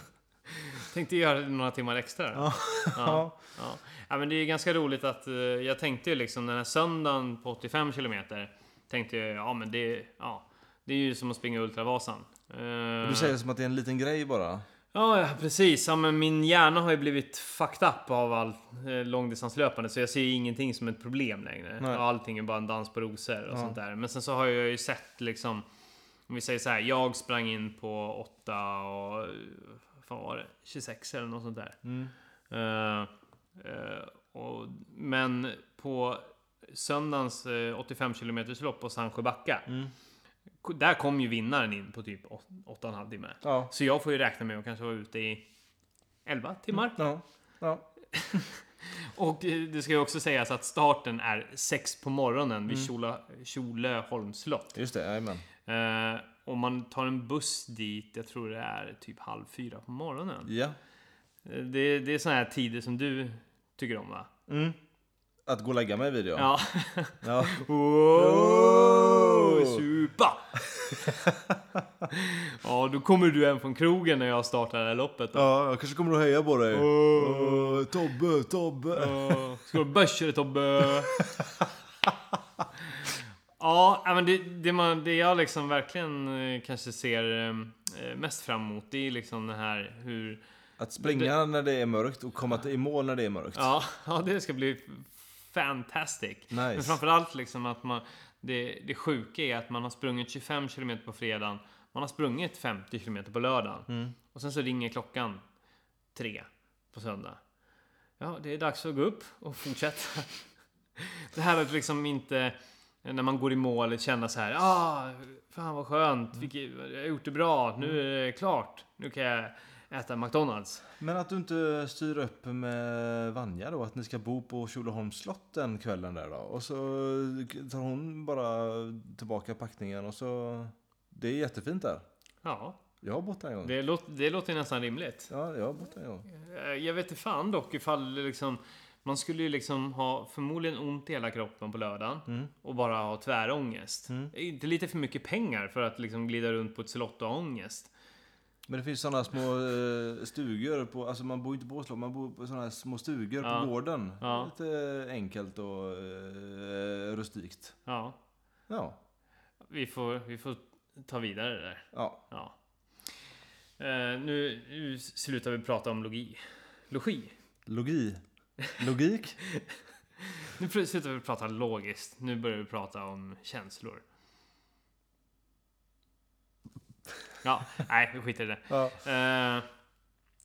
Speaker 1: Tänkte göra det några timmar extra.
Speaker 2: Ja.
Speaker 1: Ja. Ja. ja, men det är ganska roligt att eh, jag tänkte ju liksom den här söndagen på 85 kilometer. Tänkte jag, ja men det, ja, det är ju som att springa Ultravasan. Eh,
Speaker 2: Du säger som att det är en liten grej bara.
Speaker 1: Ja, ja, precis. Ja, men min hjärna har ju blivit fucked up av allt eh, långdistanslöpande så jag ser ju ingenting som ett problem längre.
Speaker 2: Nej.
Speaker 1: Och allting är bara en dans på rosor och
Speaker 2: Ja.
Speaker 1: sånt där. Men sen så har jag ju sett liksom, om vi säger så här, jag sprang in på 8 och, eh, fan var det, 26 eller något sånt där.
Speaker 2: Mm.
Speaker 1: Eh, eh, och, men på söndagens eh, 85 km lopp på Sandsjöbacka,
Speaker 2: Mm.
Speaker 1: ko- där kom ju vinnaren in på typ åt- åtta och en halv timme.
Speaker 2: Ja.
Speaker 1: Så jag får ju räkna med att kanske vara ute i 11 timmar.
Speaker 2: Ja. ja.
Speaker 1: Och eh, det ska ju också sägas att starten är 6 på morgonen vid Tjola- Tjolöholms slott.
Speaker 2: Just det, jajamän.
Speaker 1: Eh, om man tar en buss dit, jag tror det är typ halv fyra på morgonen.
Speaker 2: Ja.
Speaker 1: Eh, Det, det är såna här tider som du tycker om va?
Speaker 2: Mm. Att gå och lägga mig vid ja.
Speaker 1: Ja. Oh!
Speaker 2: ja. Oh!
Speaker 1: Wow, supa! ja, då kommer du hem från krogen när jag startar det här loppet. Då.
Speaker 2: Ja, jag kanske kommer att heja på dig. Åh, Tobbe, Tobbe.
Speaker 1: Oh! Ja, Ska du ha börsor Tobbe? Ja, ja, men det, det, man, det jag liksom verkligen eh, kanske ser eh, mest fram emot det är liksom det här hur...
Speaker 2: Att springa när det är mörkt och komma till- i mål när det är mörkt.
Speaker 1: Ja, ja det ska bli fantastic. Men framförallt liksom att man... Det, det sjuka är att man har sprungit 25 km på fredagen. Man har sprungit 50 km på lördagen.
Speaker 2: Mm.
Speaker 1: Och sen så ringer klockan tre på söndag. Ja, det är dags att gå upp och fortsätta. Det här att liksom inte, när man går i mål, känna så här, ah, fan vad skönt, vilket, jag har gjort det bra, nu är det klart, nu kan jag äta McDonalds.
Speaker 2: Men att du inte styr upp med Vanja då, att ni ska bo på Tjolöholms slott den kvällen där då. Och så tar hon bara tillbaka packningen och så... Det är jättefint där.
Speaker 1: Ja,
Speaker 2: Jag har bott där en gång.
Speaker 1: det, låt, det låter ju nästan rimligt.
Speaker 2: Ja, jag har bott där en gång.
Speaker 1: Eh, Jag vet inte fan dock ifall det liksom... Man skulle ju liksom ha förmodligen ont i hela kroppen på lördagen och bara ha tvärångest. Är Inte lite för mycket pengar för att liksom glida runt på ett slott och ha ångest.
Speaker 2: Men det finns sådana små eh, stugor på, alltså man bor ju inte på slott, man bor på sådana här små stugor
Speaker 1: Ja.
Speaker 2: på gården.
Speaker 1: Ja.
Speaker 2: Lite enkelt och eh, rustikt.
Speaker 1: Ja,
Speaker 2: Ja.
Speaker 1: vi får, vi får ta vidare det där.
Speaker 2: Ja.
Speaker 1: Ja. Eh, nu, nu slutar vi prata om logi. Logi.
Speaker 2: Logi. Logik.
Speaker 1: Nu pr- slutar vi prata logiskt. Nu börjar vi prata om känslor. Ja, nej, vi skiter i det.
Speaker 2: ja.
Speaker 1: Eh,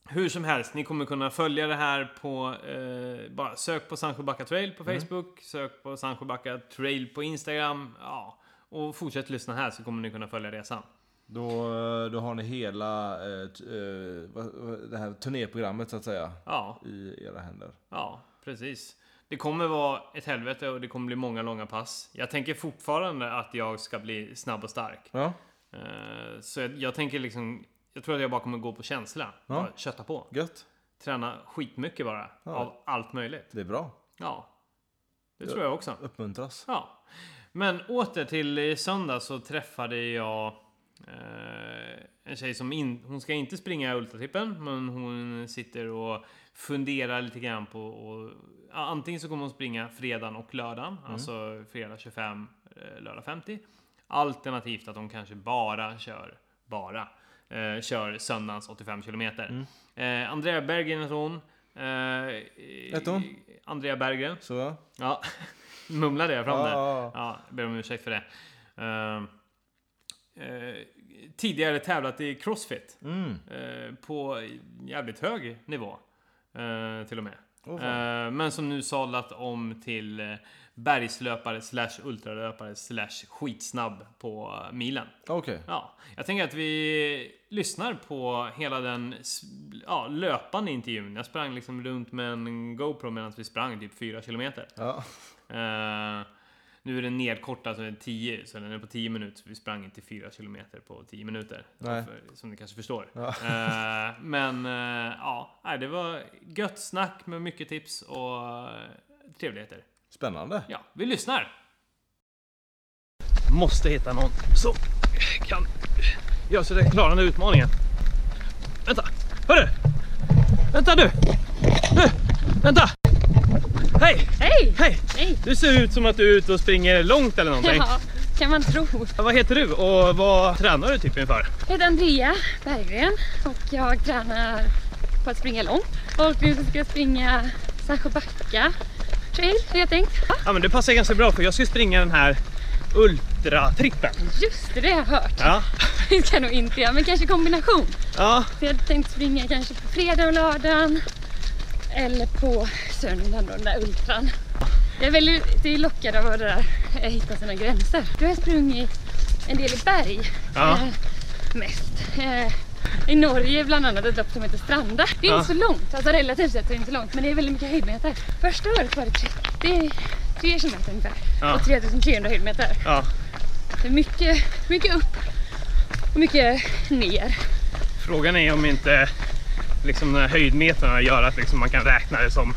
Speaker 1: hur som helst, ni kommer kunna följa det här på... Eh, bara sök på Sandsjöbacka Trail på
Speaker 2: Mm.
Speaker 1: Facebook, sök på Sandsjöbacka Trail på Instagram. Ja, och fortsätt lyssna här så kommer ni kunna följa resan.
Speaker 2: Då, eh, då har ni hela eh, t- eh, vad- vad- det här turnéprogrammet så att säga
Speaker 1: Ja,
Speaker 2: i era händer.
Speaker 1: ja, precis. Det kommer vara ett helvete och det kommer bli många långa pass. Jag tänker fortfarande att jag ska bli snabb och stark.
Speaker 2: Ja,
Speaker 1: Eh, så jag, jag tänker liksom... Jag tror att jag bara kommer gå på känsla.
Speaker 2: Ja.
Speaker 1: Bara kötta på.
Speaker 2: gött.
Speaker 1: Träna skitmycket bara.
Speaker 2: Ja.
Speaker 1: Av allt möjligt.
Speaker 2: Det är bra.
Speaker 1: Ja. Det tror jag också.
Speaker 2: Uppmuntras.
Speaker 1: Ja. Men åter till i söndag så träffade jag eh, en tjej som in, hon ska inte springa ultratippen men hon sitter och funderar lite grann på och, ja, antingen så kommer hon springa fredagen och lördagen,
Speaker 2: Mm.
Speaker 1: alltså fredag 25, eh, lördag 50. Alternativt att hon kanske bara kör, bara, eh, kör söndagens 85 kilometer. Eh, Andrea Berggren heter hon. Eh,
Speaker 2: Hette Mm. hon?
Speaker 1: Andrea Berggren.
Speaker 2: Så ja.
Speaker 1: Ja, mumlade jag fram
Speaker 2: Ja,
Speaker 1: det?
Speaker 2: ja, ja.
Speaker 1: Ja, jag ber om ursäkt för det. Ehm, eh, tidigare tävlat i Crossfit.
Speaker 2: Mm.
Speaker 1: eh, på jävligt hög nivå. eh, till och med.
Speaker 2: Åh, fan.
Speaker 1: Eh, men som nu sadlat om till eh, bergslöpare slash ultralöpare slash skitsnabb på eh, milen.
Speaker 2: Okej.
Speaker 1: Ja, jag tänker att vi lyssnar på hela den s- ja, löpande intervjun. Jag sprang liksom runt med en GoPro medan vi sprang typ 4 kilometer.
Speaker 2: Ja.
Speaker 1: Eh, nu är den nedkortad så den är 10, så den är på 10 minuter. Vi sprang inte 4 kilometer på 10 minuter.
Speaker 2: Nej.
Speaker 1: För- Som ni kanske förstår.
Speaker 2: Ja.
Speaker 1: Eh, men eh, ja, nej, det var gött snack med mycket tips och eh, trevligheter.
Speaker 2: Spännande.
Speaker 1: Ja, vi lyssnar! Måste hitta någon som kan göra så att jag klarar den här utmaningen. Vänta! Hörru! Vänta du! Du! Vänta! Hej!
Speaker 3: Hej!
Speaker 1: Hej!
Speaker 3: Hej!
Speaker 1: Du ser ut som att du är ute och springer långt eller någonting.
Speaker 3: Ja, kan man tro.
Speaker 1: Vad heter du och vad tränar du typ inför?
Speaker 3: Jag heter Andrea Berggren och jag tränar på att springa långt. Och nu ska jag springa Sandsjöbacka trail har jag tänkt. Ja,
Speaker 1: Ja men det passar ganska bra för jag ska springa den här ultratrippen.
Speaker 3: just det, det har jag hört.
Speaker 1: Ja.
Speaker 3: Det ska jag nog inte göra, men kanske kombination.
Speaker 1: ja.
Speaker 3: Så jag tänkte springa kanske på fredag och lördagen. Eller på söndagen då, den där ultran. Jag är väldigt det är lockad av att det där, eh, hitta sina gränser. Du har jag sprungit en del i berg.
Speaker 1: Ja.
Speaker 3: eh, mest. Eh, I Norge bland annat ett lopp som heter Stranda. Det är
Speaker 1: Ja.
Speaker 3: inte så långt, alltså relativt sett är det inte långt men det är väldigt mycket höjdmeter. Första året var det 33 kilometer ungefär
Speaker 1: Ja.
Speaker 3: och 3300 höjdmeter.
Speaker 1: ja.
Speaker 3: Det är mycket, mycket upp och mycket ner.
Speaker 1: Frågan är om inte liksom, de här höjdmetrarna gör att liksom, man kan räkna det som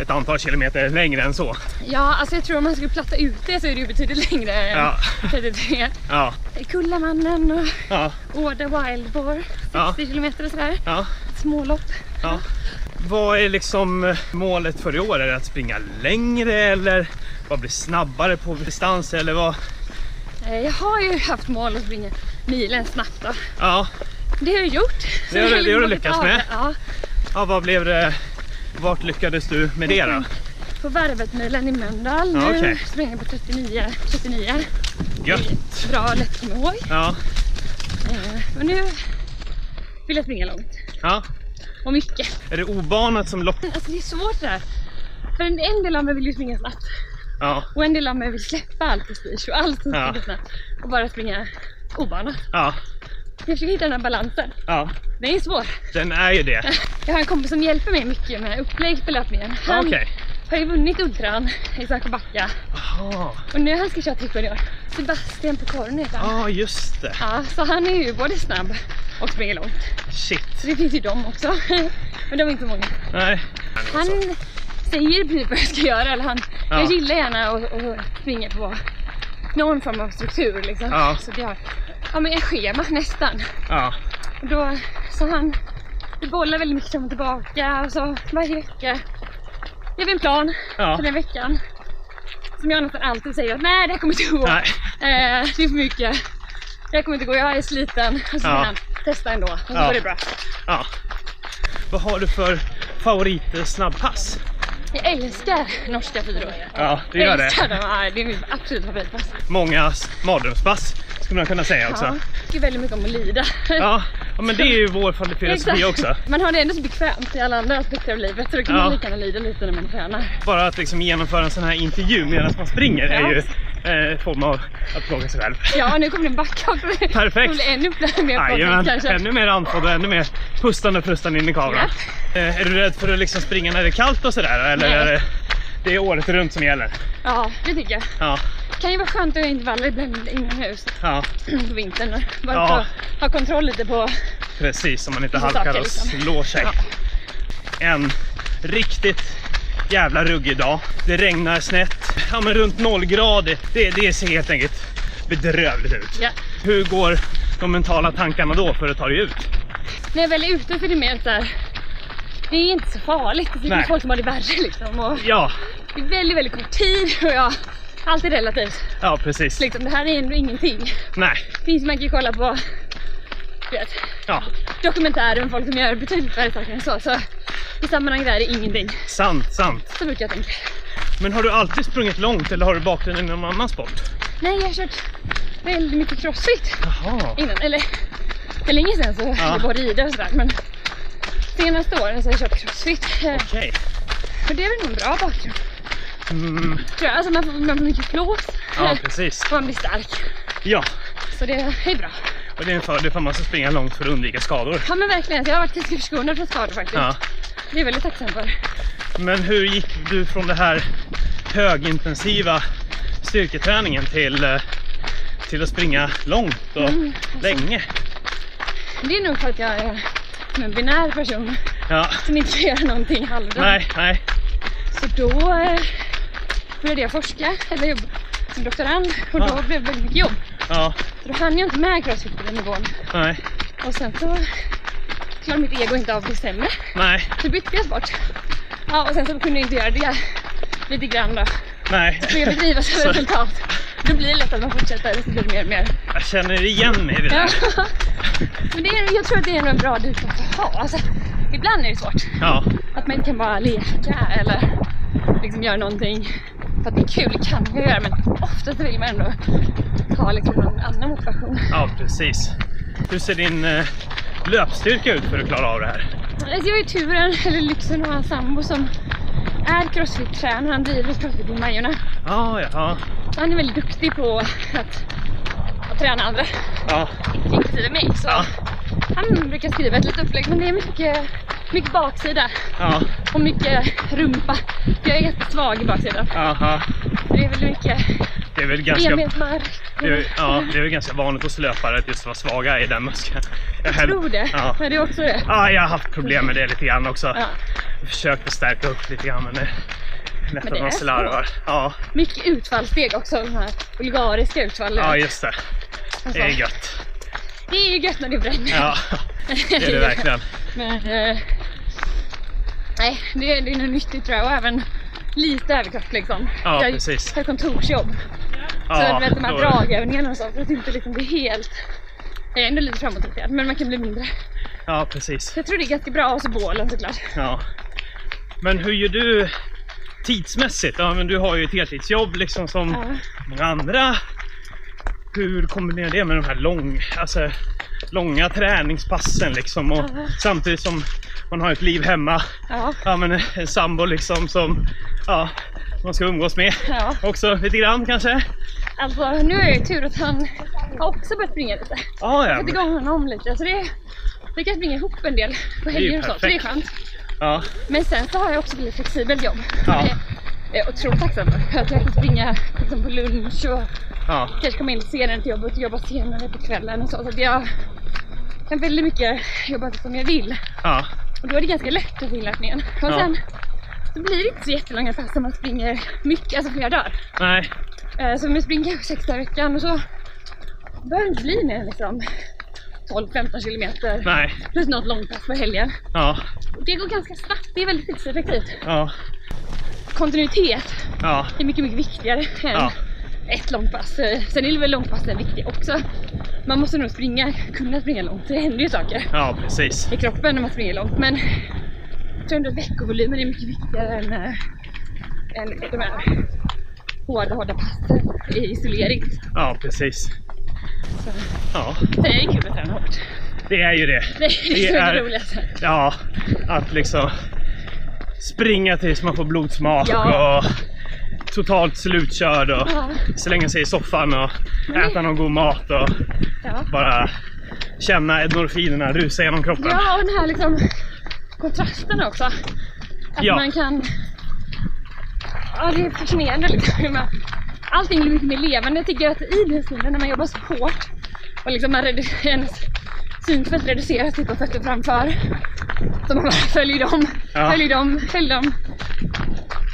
Speaker 1: ett antal kilometer längre än så.
Speaker 3: Ja, alltså jag tror om man skulle platta ut det så är det ju betydligt längre än
Speaker 1: Ja.
Speaker 3: 33.
Speaker 1: Ja,
Speaker 3: Kullamannen och
Speaker 1: ja,
Speaker 3: Åda Wild Boar, 60
Speaker 1: Ja.
Speaker 3: kilometer och sådär.
Speaker 1: ja.
Speaker 3: Smålopp.
Speaker 1: ja. Vad är liksom eh, målet för i år? Är det att springa längre eller vad blir snabbare på distans eller vad?
Speaker 3: Eh, Jag har ju haft mål att springa milen snabbt då.
Speaker 1: Ja,
Speaker 3: Det har jag gjort. Så
Speaker 1: Det har du- det har du
Speaker 3: jag
Speaker 1: lyckats
Speaker 3: lite av
Speaker 1: med.
Speaker 3: det, Ja,
Speaker 1: ja vad blev det? Vart lyckades du med det då?
Speaker 3: på Värvetmilen i Mölndal.
Speaker 1: Ja,
Speaker 3: Nu
Speaker 1: okej.
Speaker 3: sprang jag på 39. 39.
Speaker 1: Gött!
Speaker 3: Bra och lätt att komma ihåg.
Speaker 1: Ja,
Speaker 3: Eh, Men nu vill jag springa långt.
Speaker 1: ja.
Speaker 3: Och mycket.
Speaker 1: Är det obanat som lock?
Speaker 3: Alltså det är svårt det här. För en, en del av mig vill ju springa snabbt.
Speaker 1: Ja,
Speaker 3: Och en del av mig vill släppa all prestige och allt som
Speaker 1: Ja.
Speaker 3: springer snabbt. Och bara springa obanat.
Speaker 1: ja,
Speaker 3: Jag försöker hitta den här balansen.
Speaker 1: ja.
Speaker 3: Den är svår.
Speaker 1: Den är ju det.
Speaker 3: Jag har en kompis som hjälper mig mycket med upplägg på löpningen. Han
Speaker 1: Okej.
Speaker 3: har ju vunnit ultran i Sandsjöbacka.
Speaker 1: Jaha.
Speaker 3: Och nu han ska köra trippen i år. Sebastian på korn heter han.
Speaker 1: Ja, just det.
Speaker 3: Ja, så han är ju både snabb och springer långt.
Speaker 1: Shit.
Speaker 3: Så det finns ju dem också. Men de är inte många.
Speaker 1: Nej.
Speaker 3: Han säger precis vad jag ska göra. Eller han,
Speaker 1: Ja.
Speaker 3: Jag gillar gärna att, att springa på någon form av struktur. Liksom.
Speaker 1: Ja.
Speaker 3: Så att jag, ja men ett schema nästan.
Speaker 1: Ja.
Speaker 3: Och då, så han, vi bollar väldigt mycket fram och tillbaka. Och så varje vecka gör vi en plan
Speaker 1: Ja.
Speaker 3: för den veckan. Som jag nästan alltid säger att nej det här kommer inte gå.
Speaker 1: Nej.
Speaker 3: Eh, det är för mycket. Jag kommer inte gå, jag är sliten. Och så säger
Speaker 1: Ja.
Speaker 3: han, testa ändå. Och så
Speaker 1: Ja.
Speaker 3: var det bra.
Speaker 1: Ja. Vad har du för favorit snabbpass?
Speaker 3: Jag älskar norska fyror.
Speaker 1: Ja, det gör det.
Speaker 3: Älskar dem. Ja, det är mitt absoluta favoritpass.
Speaker 1: Många mardrömspass skulle man kunna säga också.
Speaker 3: Ja. Jag tycker väldigt mycket om att lida.
Speaker 1: Ja, ja men det är ju vår filosofi
Speaker 3: Exakt.
Speaker 1: också.
Speaker 3: Man har det ändå så bekvämt i alla andra aspekter av livet så då kan
Speaker 1: Ja.
Speaker 3: man lika gärna lida lite när man tränar.
Speaker 1: Bara att liksom genomföra en sån här intervju medan man springer är
Speaker 3: Ja.
Speaker 1: ju eh, en form av att plåga sig själv.
Speaker 3: Ja, nu kommer det en backa också. Det
Speaker 1: Perfekt!
Speaker 3: blir ännu mer påtänt
Speaker 1: Jajamän,
Speaker 3: kanske.
Speaker 1: ännu mer andfådd och ännu mer pustande och frustande in i kameran. Eh, är du rädd för att liksom springa när det är kallt och sådär? Eller
Speaker 3: Nej.
Speaker 1: är det, det är året runt som gäller?
Speaker 3: Ja, det tycker jag.
Speaker 1: Ja,
Speaker 3: kan ju vara skönt att ha intervaller ibland inomhus
Speaker 1: ja
Speaker 3: på vintern. Bara
Speaker 1: Ja.
Speaker 3: ja. ha kontroll lite på...
Speaker 1: precis. Som man inte
Speaker 3: Lite
Speaker 1: halkar
Speaker 3: saker
Speaker 1: och
Speaker 3: liksom.
Speaker 1: slår sig.
Speaker 3: Ja.
Speaker 1: En riktigt jävla ruggig dag. Det regnar snett. Ja, men runt nollgradigt. Det, det ser helt enkelt bedrövligt ut.
Speaker 3: Ja.
Speaker 1: Hur går de mentala tankarna då för att ta dig ut?
Speaker 3: När jag väl är ute för det är mer så här... Det är inte så farligt. Det
Speaker 1: Nej.
Speaker 3: finns folk som har det värre liksom. Och
Speaker 1: Ja,
Speaker 3: det är väldigt, väldigt kort tid och jag... Allt är relativt.
Speaker 1: ja precis.
Speaker 3: Liksom, det här är ändå ingenting.
Speaker 1: Nej,
Speaker 3: Det finns man kan ju kolla på du vet,
Speaker 1: ja,
Speaker 3: dokumentärer om folk som gör betydligt värre saker än så. Så i sammanhanget är det ingenting.
Speaker 1: sant, sant.
Speaker 3: Så brukar jag tänka.
Speaker 1: Men har du alltid sprungit långt eller har du bakgrund i någon annan sport?
Speaker 3: Nej, jag har kört väldigt mycket crossfit
Speaker 1: Jaha.
Speaker 3: innan. Eller för länge sedan så
Speaker 1: Ja.
Speaker 3: höll jag på att rida och sådär. Men senaste åren så har jag kört crossfit. Eh,
Speaker 1: Okej.
Speaker 3: Och det är väl nog en bra bakgrund.
Speaker 1: Mm,
Speaker 3: Tror jag. Alltså man får, man får mycket flås.
Speaker 1: ja,
Speaker 3: Eh,
Speaker 1: precis.
Speaker 3: och man blir stark.
Speaker 1: Ja,
Speaker 3: Så det är bra.
Speaker 1: och det är en fördel för man ska springa långt för att undvika skador.
Speaker 3: Ja men verkligen. Jag har varit ganska förskonad från skador faktiskt.
Speaker 1: Ja.
Speaker 3: Det är jag väldigt tacksam för.
Speaker 1: Men hur gick du från det här högintensiva styrketräningen till, eh, till att springa långt och länge?
Speaker 3: Det är nog för att jag är en binär person
Speaker 1: Ja.
Speaker 3: som inte kan göra någonting halvdant.
Speaker 1: Nej, nej.
Speaker 3: Så då eh, började jag forska, eller jobba som doktorand och
Speaker 1: Ja.
Speaker 3: då blev det väldigt mycket jobb.
Speaker 1: Ja,
Speaker 3: Så då hann jag inte med crossfit på den nivån.
Speaker 1: nej,
Speaker 3: Och sen så klarade mitt ego inte av att bli sämre.
Speaker 1: nej,
Speaker 3: Så bytte jag sport. Ja, och sen så kunde jag inte göra det lite grann då.
Speaker 1: nej.
Speaker 3: Men jag bedrivs
Speaker 1: Så-
Speaker 3: av resultat. Då blir det lätt att man fortsätter och så blir det mer och mer.
Speaker 1: Jag känner igen mig i det
Speaker 3: Ja.
Speaker 1: där.
Speaker 3: Men det är, jag tror att det är nog en bra drivkraft att ha. Alltså, ibland är det svårt.
Speaker 1: Ja,
Speaker 3: Att man inte kan bara leka eller liksom göra någonting för att det är kul, det kan jag göra men oftast vill man ändå ha liksom någon annan motivation.
Speaker 1: ja precis. Hur ser din eh, löpstyrka ut för att klara av det här?
Speaker 3: Alltså jag har ju turen, eller lyxen, att ha en sambo som är crossfit-tränare. Han driver crossfit i Majorna.
Speaker 1: Ja, ja, ja.
Speaker 3: Så han är väldigt duktig på att, att träna andra,
Speaker 1: ja.
Speaker 3: inklusive mig. Så
Speaker 1: Ja.
Speaker 3: han brukar skriva ett litet upplägg men det är mycket, mycket baksida
Speaker 1: Ja,
Speaker 3: och mycket rumpa. För Jag är ganska svag i baksidan.
Speaker 1: aha.
Speaker 3: Så det är väldigt mycket
Speaker 1: Det är väl ganska, det
Speaker 3: benmärg.
Speaker 1: är, ja, det är väl ganska vanligt hos löpare att just vara svaga i den muskeln. Jag
Speaker 3: Jag tror det.
Speaker 1: Ja.
Speaker 3: Men det är också det.
Speaker 1: Ja, jag har haft problem med det lite grann också.
Speaker 3: Ja.
Speaker 1: Jag försökte stärka upp lite grann men det är lätt
Speaker 3: Men
Speaker 1: att
Speaker 3: det
Speaker 1: man
Speaker 3: är
Speaker 1: slarvar. Ja,
Speaker 3: Mycket utfallssteg också. De här bulgariska utfallen.
Speaker 1: ja, just det.
Speaker 3: Alltså,
Speaker 1: Det är gött.
Speaker 3: det är ju gött när det bränner.
Speaker 1: Ja, det är det verkligen.
Speaker 3: Men, eh, nej, det är, det är nog nyttigt tror jag. Och även lite överkropp liksom.
Speaker 1: Ja,
Speaker 3: jag
Speaker 1: precis.
Speaker 3: har kontorsjobb. så
Speaker 1: Ja,
Speaker 3: du vet de här
Speaker 1: då-
Speaker 3: dragövningarna och så. För att inte liksom bli helt... Jag är ändå lite framåtriktad men man kan bli mindre.
Speaker 1: Ja, precis.
Speaker 3: Så jag tror det är ganska bra. Och så bålen såklart.
Speaker 1: Ja. Men hur gör du tidsmässigt? Ja, men du har ju ett heltidsjobb liksom som
Speaker 3: Ja.
Speaker 1: många andra. Hur kombinerar det med de här lång, alltså, långa träningspassen liksom och
Speaker 3: Ja.
Speaker 1: samtidigt som man har ett liv hemma.
Speaker 3: Ja.
Speaker 1: Ja men en sambo liksom som ja, man ska umgås med
Speaker 3: Ja.
Speaker 1: också lite grann kanske.
Speaker 3: Alltså nu är det ju tur att han har också börjat springa lite.
Speaker 1: Ja, ja,
Speaker 3: fått
Speaker 1: men,
Speaker 3: igång honom lite. Så det, det kan springa ihop en del på
Speaker 1: är ju
Speaker 3: helger och sånt. Så det är
Speaker 1: perfekt.
Speaker 3: skönt.
Speaker 1: ja,
Speaker 3: Men sen så har jag också blivit flexibelt jobb.
Speaker 1: Ja.
Speaker 3: Det är jag otroligt tacksam för. För Att jag kan springa liksom på lunch och
Speaker 1: ja,
Speaker 3: kanske komma in senare till jobbet och jobba senare på kvällen och så. Så att jag kan väldigt mycket jobba så som jag vill.
Speaker 1: ja,
Speaker 3: Och då är det ganska lätt att få inlärningen. Och
Speaker 1: Ja.
Speaker 3: sen så blir det inte så jättelånga pass om man springer mycket, alltså flera dagar.
Speaker 1: nej,
Speaker 3: Eh, Så om jag springer kanske sex dagar i veckan och så behöver det inte bli mer än liksom 12-15 kilometer
Speaker 1: nej,
Speaker 3: plus något långpass på helgen.
Speaker 1: ja,
Speaker 3: Och det går ganska snabbt, det är väldigt tidseffektivt.
Speaker 1: ja,
Speaker 3: Kontinuitet
Speaker 1: ja,
Speaker 3: är mycket, mycket viktigare än
Speaker 1: Ja.
Speaker 3: ett långpass. Eh, Sen är det väl långpassen viktiga också. man måste nog springa, kunna springa långt. Det händer ju saker
Speaker 1: Ja, precis.
Speaker 3: i kroppen när man springer långt. Men jag tror ändå att veckovolymen är mycket viktigare än, eh, än de här hårda, hårda passen i isolering.
Speaker 1: Ja, precis.
Speaker 3: Så
Speaker 1: Ja,
Speaker 3: det är kul att träna hårt.
Speaker 1: det är ju det.
Speaker 3: Det är det, är...
Speaker 1: är-
Speaker 3: det roligaste.
Speaker 1: Ja, att liksom springa tills man får blodsmak
Speaker 3: Ja.
Speaker 1: och totalt slutkörd och
Speaker 3: Ja,
Speaker 1: slänga sig i soffan och äta någon god mat och
Speaker 3: ja.
Speaker 1: bara känna endorfinerna rusa genom kroppen.
Speaker 3: ja, och den här liksom kontrasten också. Att
Speaker 1: Ja.
Speaker 3: man kan... Ja, det är fascinerande liksom. hur man- Allting blir mycket mer levande. Jag tycker att i den stilen, när man jobbar så hårt och liksom man redu- ens synfält reduceras till på fötter framför. Så man bara följer dem,
Speaker 1: Ja.
Speaker 3: följer dem, följer dem.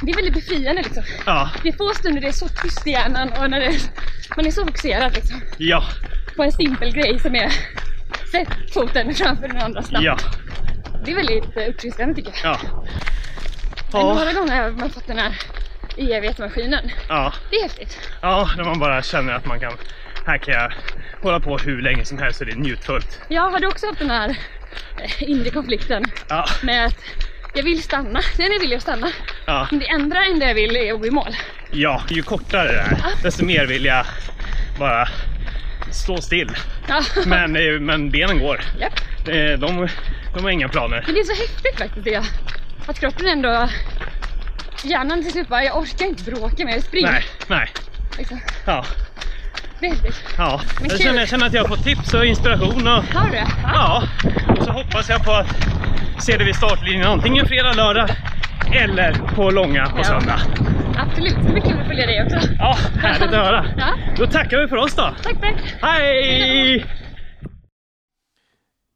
Speaker 3: Det är väldigt befriande liksom.
Speaker 1: Ja,
Speaker 3: Det är få stunder det är så tyst i hjärnan och när det är, man är så fokuserad liksom.
Speaker 1: ja,
Speaker 3: på en simpel grej som är sätt foten framför den andra snabbt.
Speaker 1: ja,
Speaker 3: Det är väldigt eh, uppfriskande tycker jag.
Speaker 1: ja.
Speaker 3: Men
Speaker 1: Ja,
Speaker 3: Några gånger har man fått den här EVT-maskinen.
Speaker 1: ja,
Speaker 3: Det är häftigt.
Speaker 1: ja, när man bara känner att man kan, här kan jag hålla på hur länge som helst och det är njutfullt.
Speaker 3: Jag hade också haft den här eh, inre konflikten
Speaker 1: Ja,
Speaker 3: med att jag vill stanna. Sen vill jag stanna.
Speaker 1: ja,
Speaker 3: Men det enda, enda jag vill är att bli i mål.
Speaker 1: ja, ju kortare det
Speaker 3: Ah.
Speaker 1: är, desto mer vill jag bara stå still.
Speaker 3: Ja.
Speaker 1: Men, eh, men benen går.
Speaker 3: Japp.
Speaker 1: Eh, De, de har inga planer.
Speaker 3: Men det är så häftigt faktiskt det. Att kroppen ändå... Hjärnan till slut bara, jag orkar inte bråka mer, spring.
Speaker 1: Nej, nej.
Speaker 3: Liksom.
Speaker 1: Ja,
Speaker 3: Det är häftigt.
Speaker 1: ja.
Speaker 3: Men
Speaker 1: Jag
Speaker 3: kul.
Speaker 1: känner, jag känner att jag har fått tips och inspiration och
Speaker 3: Har du det?
Speaker 1: ja, och så hoppas jag på att se det vid startlinjen antingen fredag, lördag eller på långa på
Speaker 3: Ja.
Speaker 1: söndag.
Speaker 3: Absolut. Det blir kul att följa dig också.
Speaker 1: Ja, härligt att höra.
Speaker 3: Ja.
Speaker 1: Då tackar vi för oss då.
Speaker 3: Tack, tack.
Speaker 1: Hej!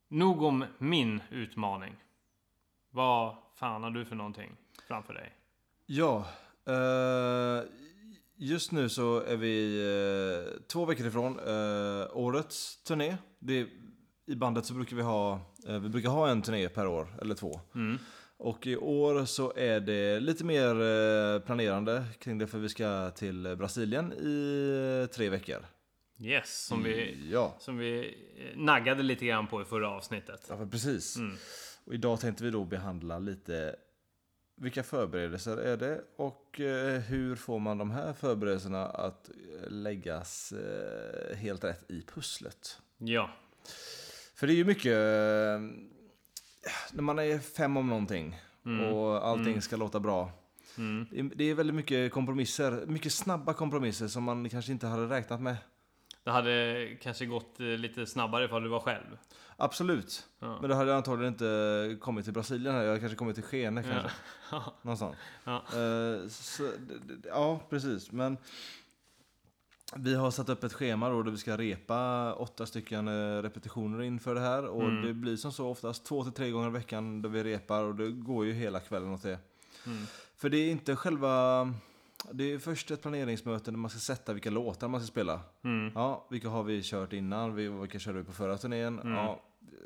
Speaker 4: Nog om min utmaning. Vad fan har du för någonting framför dig?
Speaker 2: Ja, eh, just nu så är vi eh, två veckor ifrån eh, årets turné. Det är, I bandet så brukar vi ha, eh, vi brukar ha en turné per år, eller två.
Speaker 4: Mm.
Speaker 2: Och i år så är det lite mer eh, planerande kring det för vi ska till Brasilien i eh, tre veckor.
Speaker 4: Yes, som vi,
Speaker 2: Ja,
Speaker 4: som vi eh, naggade lite grann på i förra avsnittet.
Speaker 2: ja men precis.
Speaker 4: Mm.
Speaker 2: Och idag tänkte vi då behandla lite vilka förberedelser är det och eh, hur får man de här förberedelserna att eh, läggas eh, helt rätt i pusslet?
Speaker 4: Ja,
Speaker 2: För det är ju mycket, eh, när man är fem om någonting och allting ska låta bra.
Speaker 4: Mm.
Speaker 2: Det är- Det är väldigt mycket kompromisser, mycket snabba kompromisser som man kanske inte hade räknat med.
Speaker 4: det hade kanske gått eh, lite snabbare ifall du var själv.
Speaker 2: Absolut,
Speaker 4: Ja.
Speaker 2: men då hade jag antagligen inte kommit till Brasilien här, jag hade kanske kommit till Skene kanske. Någonstans.
Speaker 4: Ja.
Speaker 2: Eh, så, d- d- ja, precis. Men vi har satt upp ett schema då där vi ska repa åtta stycken eh, repetitioner inför det här. Och
Speaker 4: Mm.
Speaker 2: det blir som så oftast två till tre gånger i veckan där vi repar och det går ju hela kvällen åt det.
Speaker 4: Mm.
Speaker 2: För det är inte själva... Det är först ett planeringsmöte där man ska sätta vilka låtar man ska spela.
Speaker 4: Mm.
Speaker 2: Ja, vilka har vi kört innan? Vi- Vilka körde vi på förra turnén?
Speaker 4: Mm.
Speaker 2: Ja,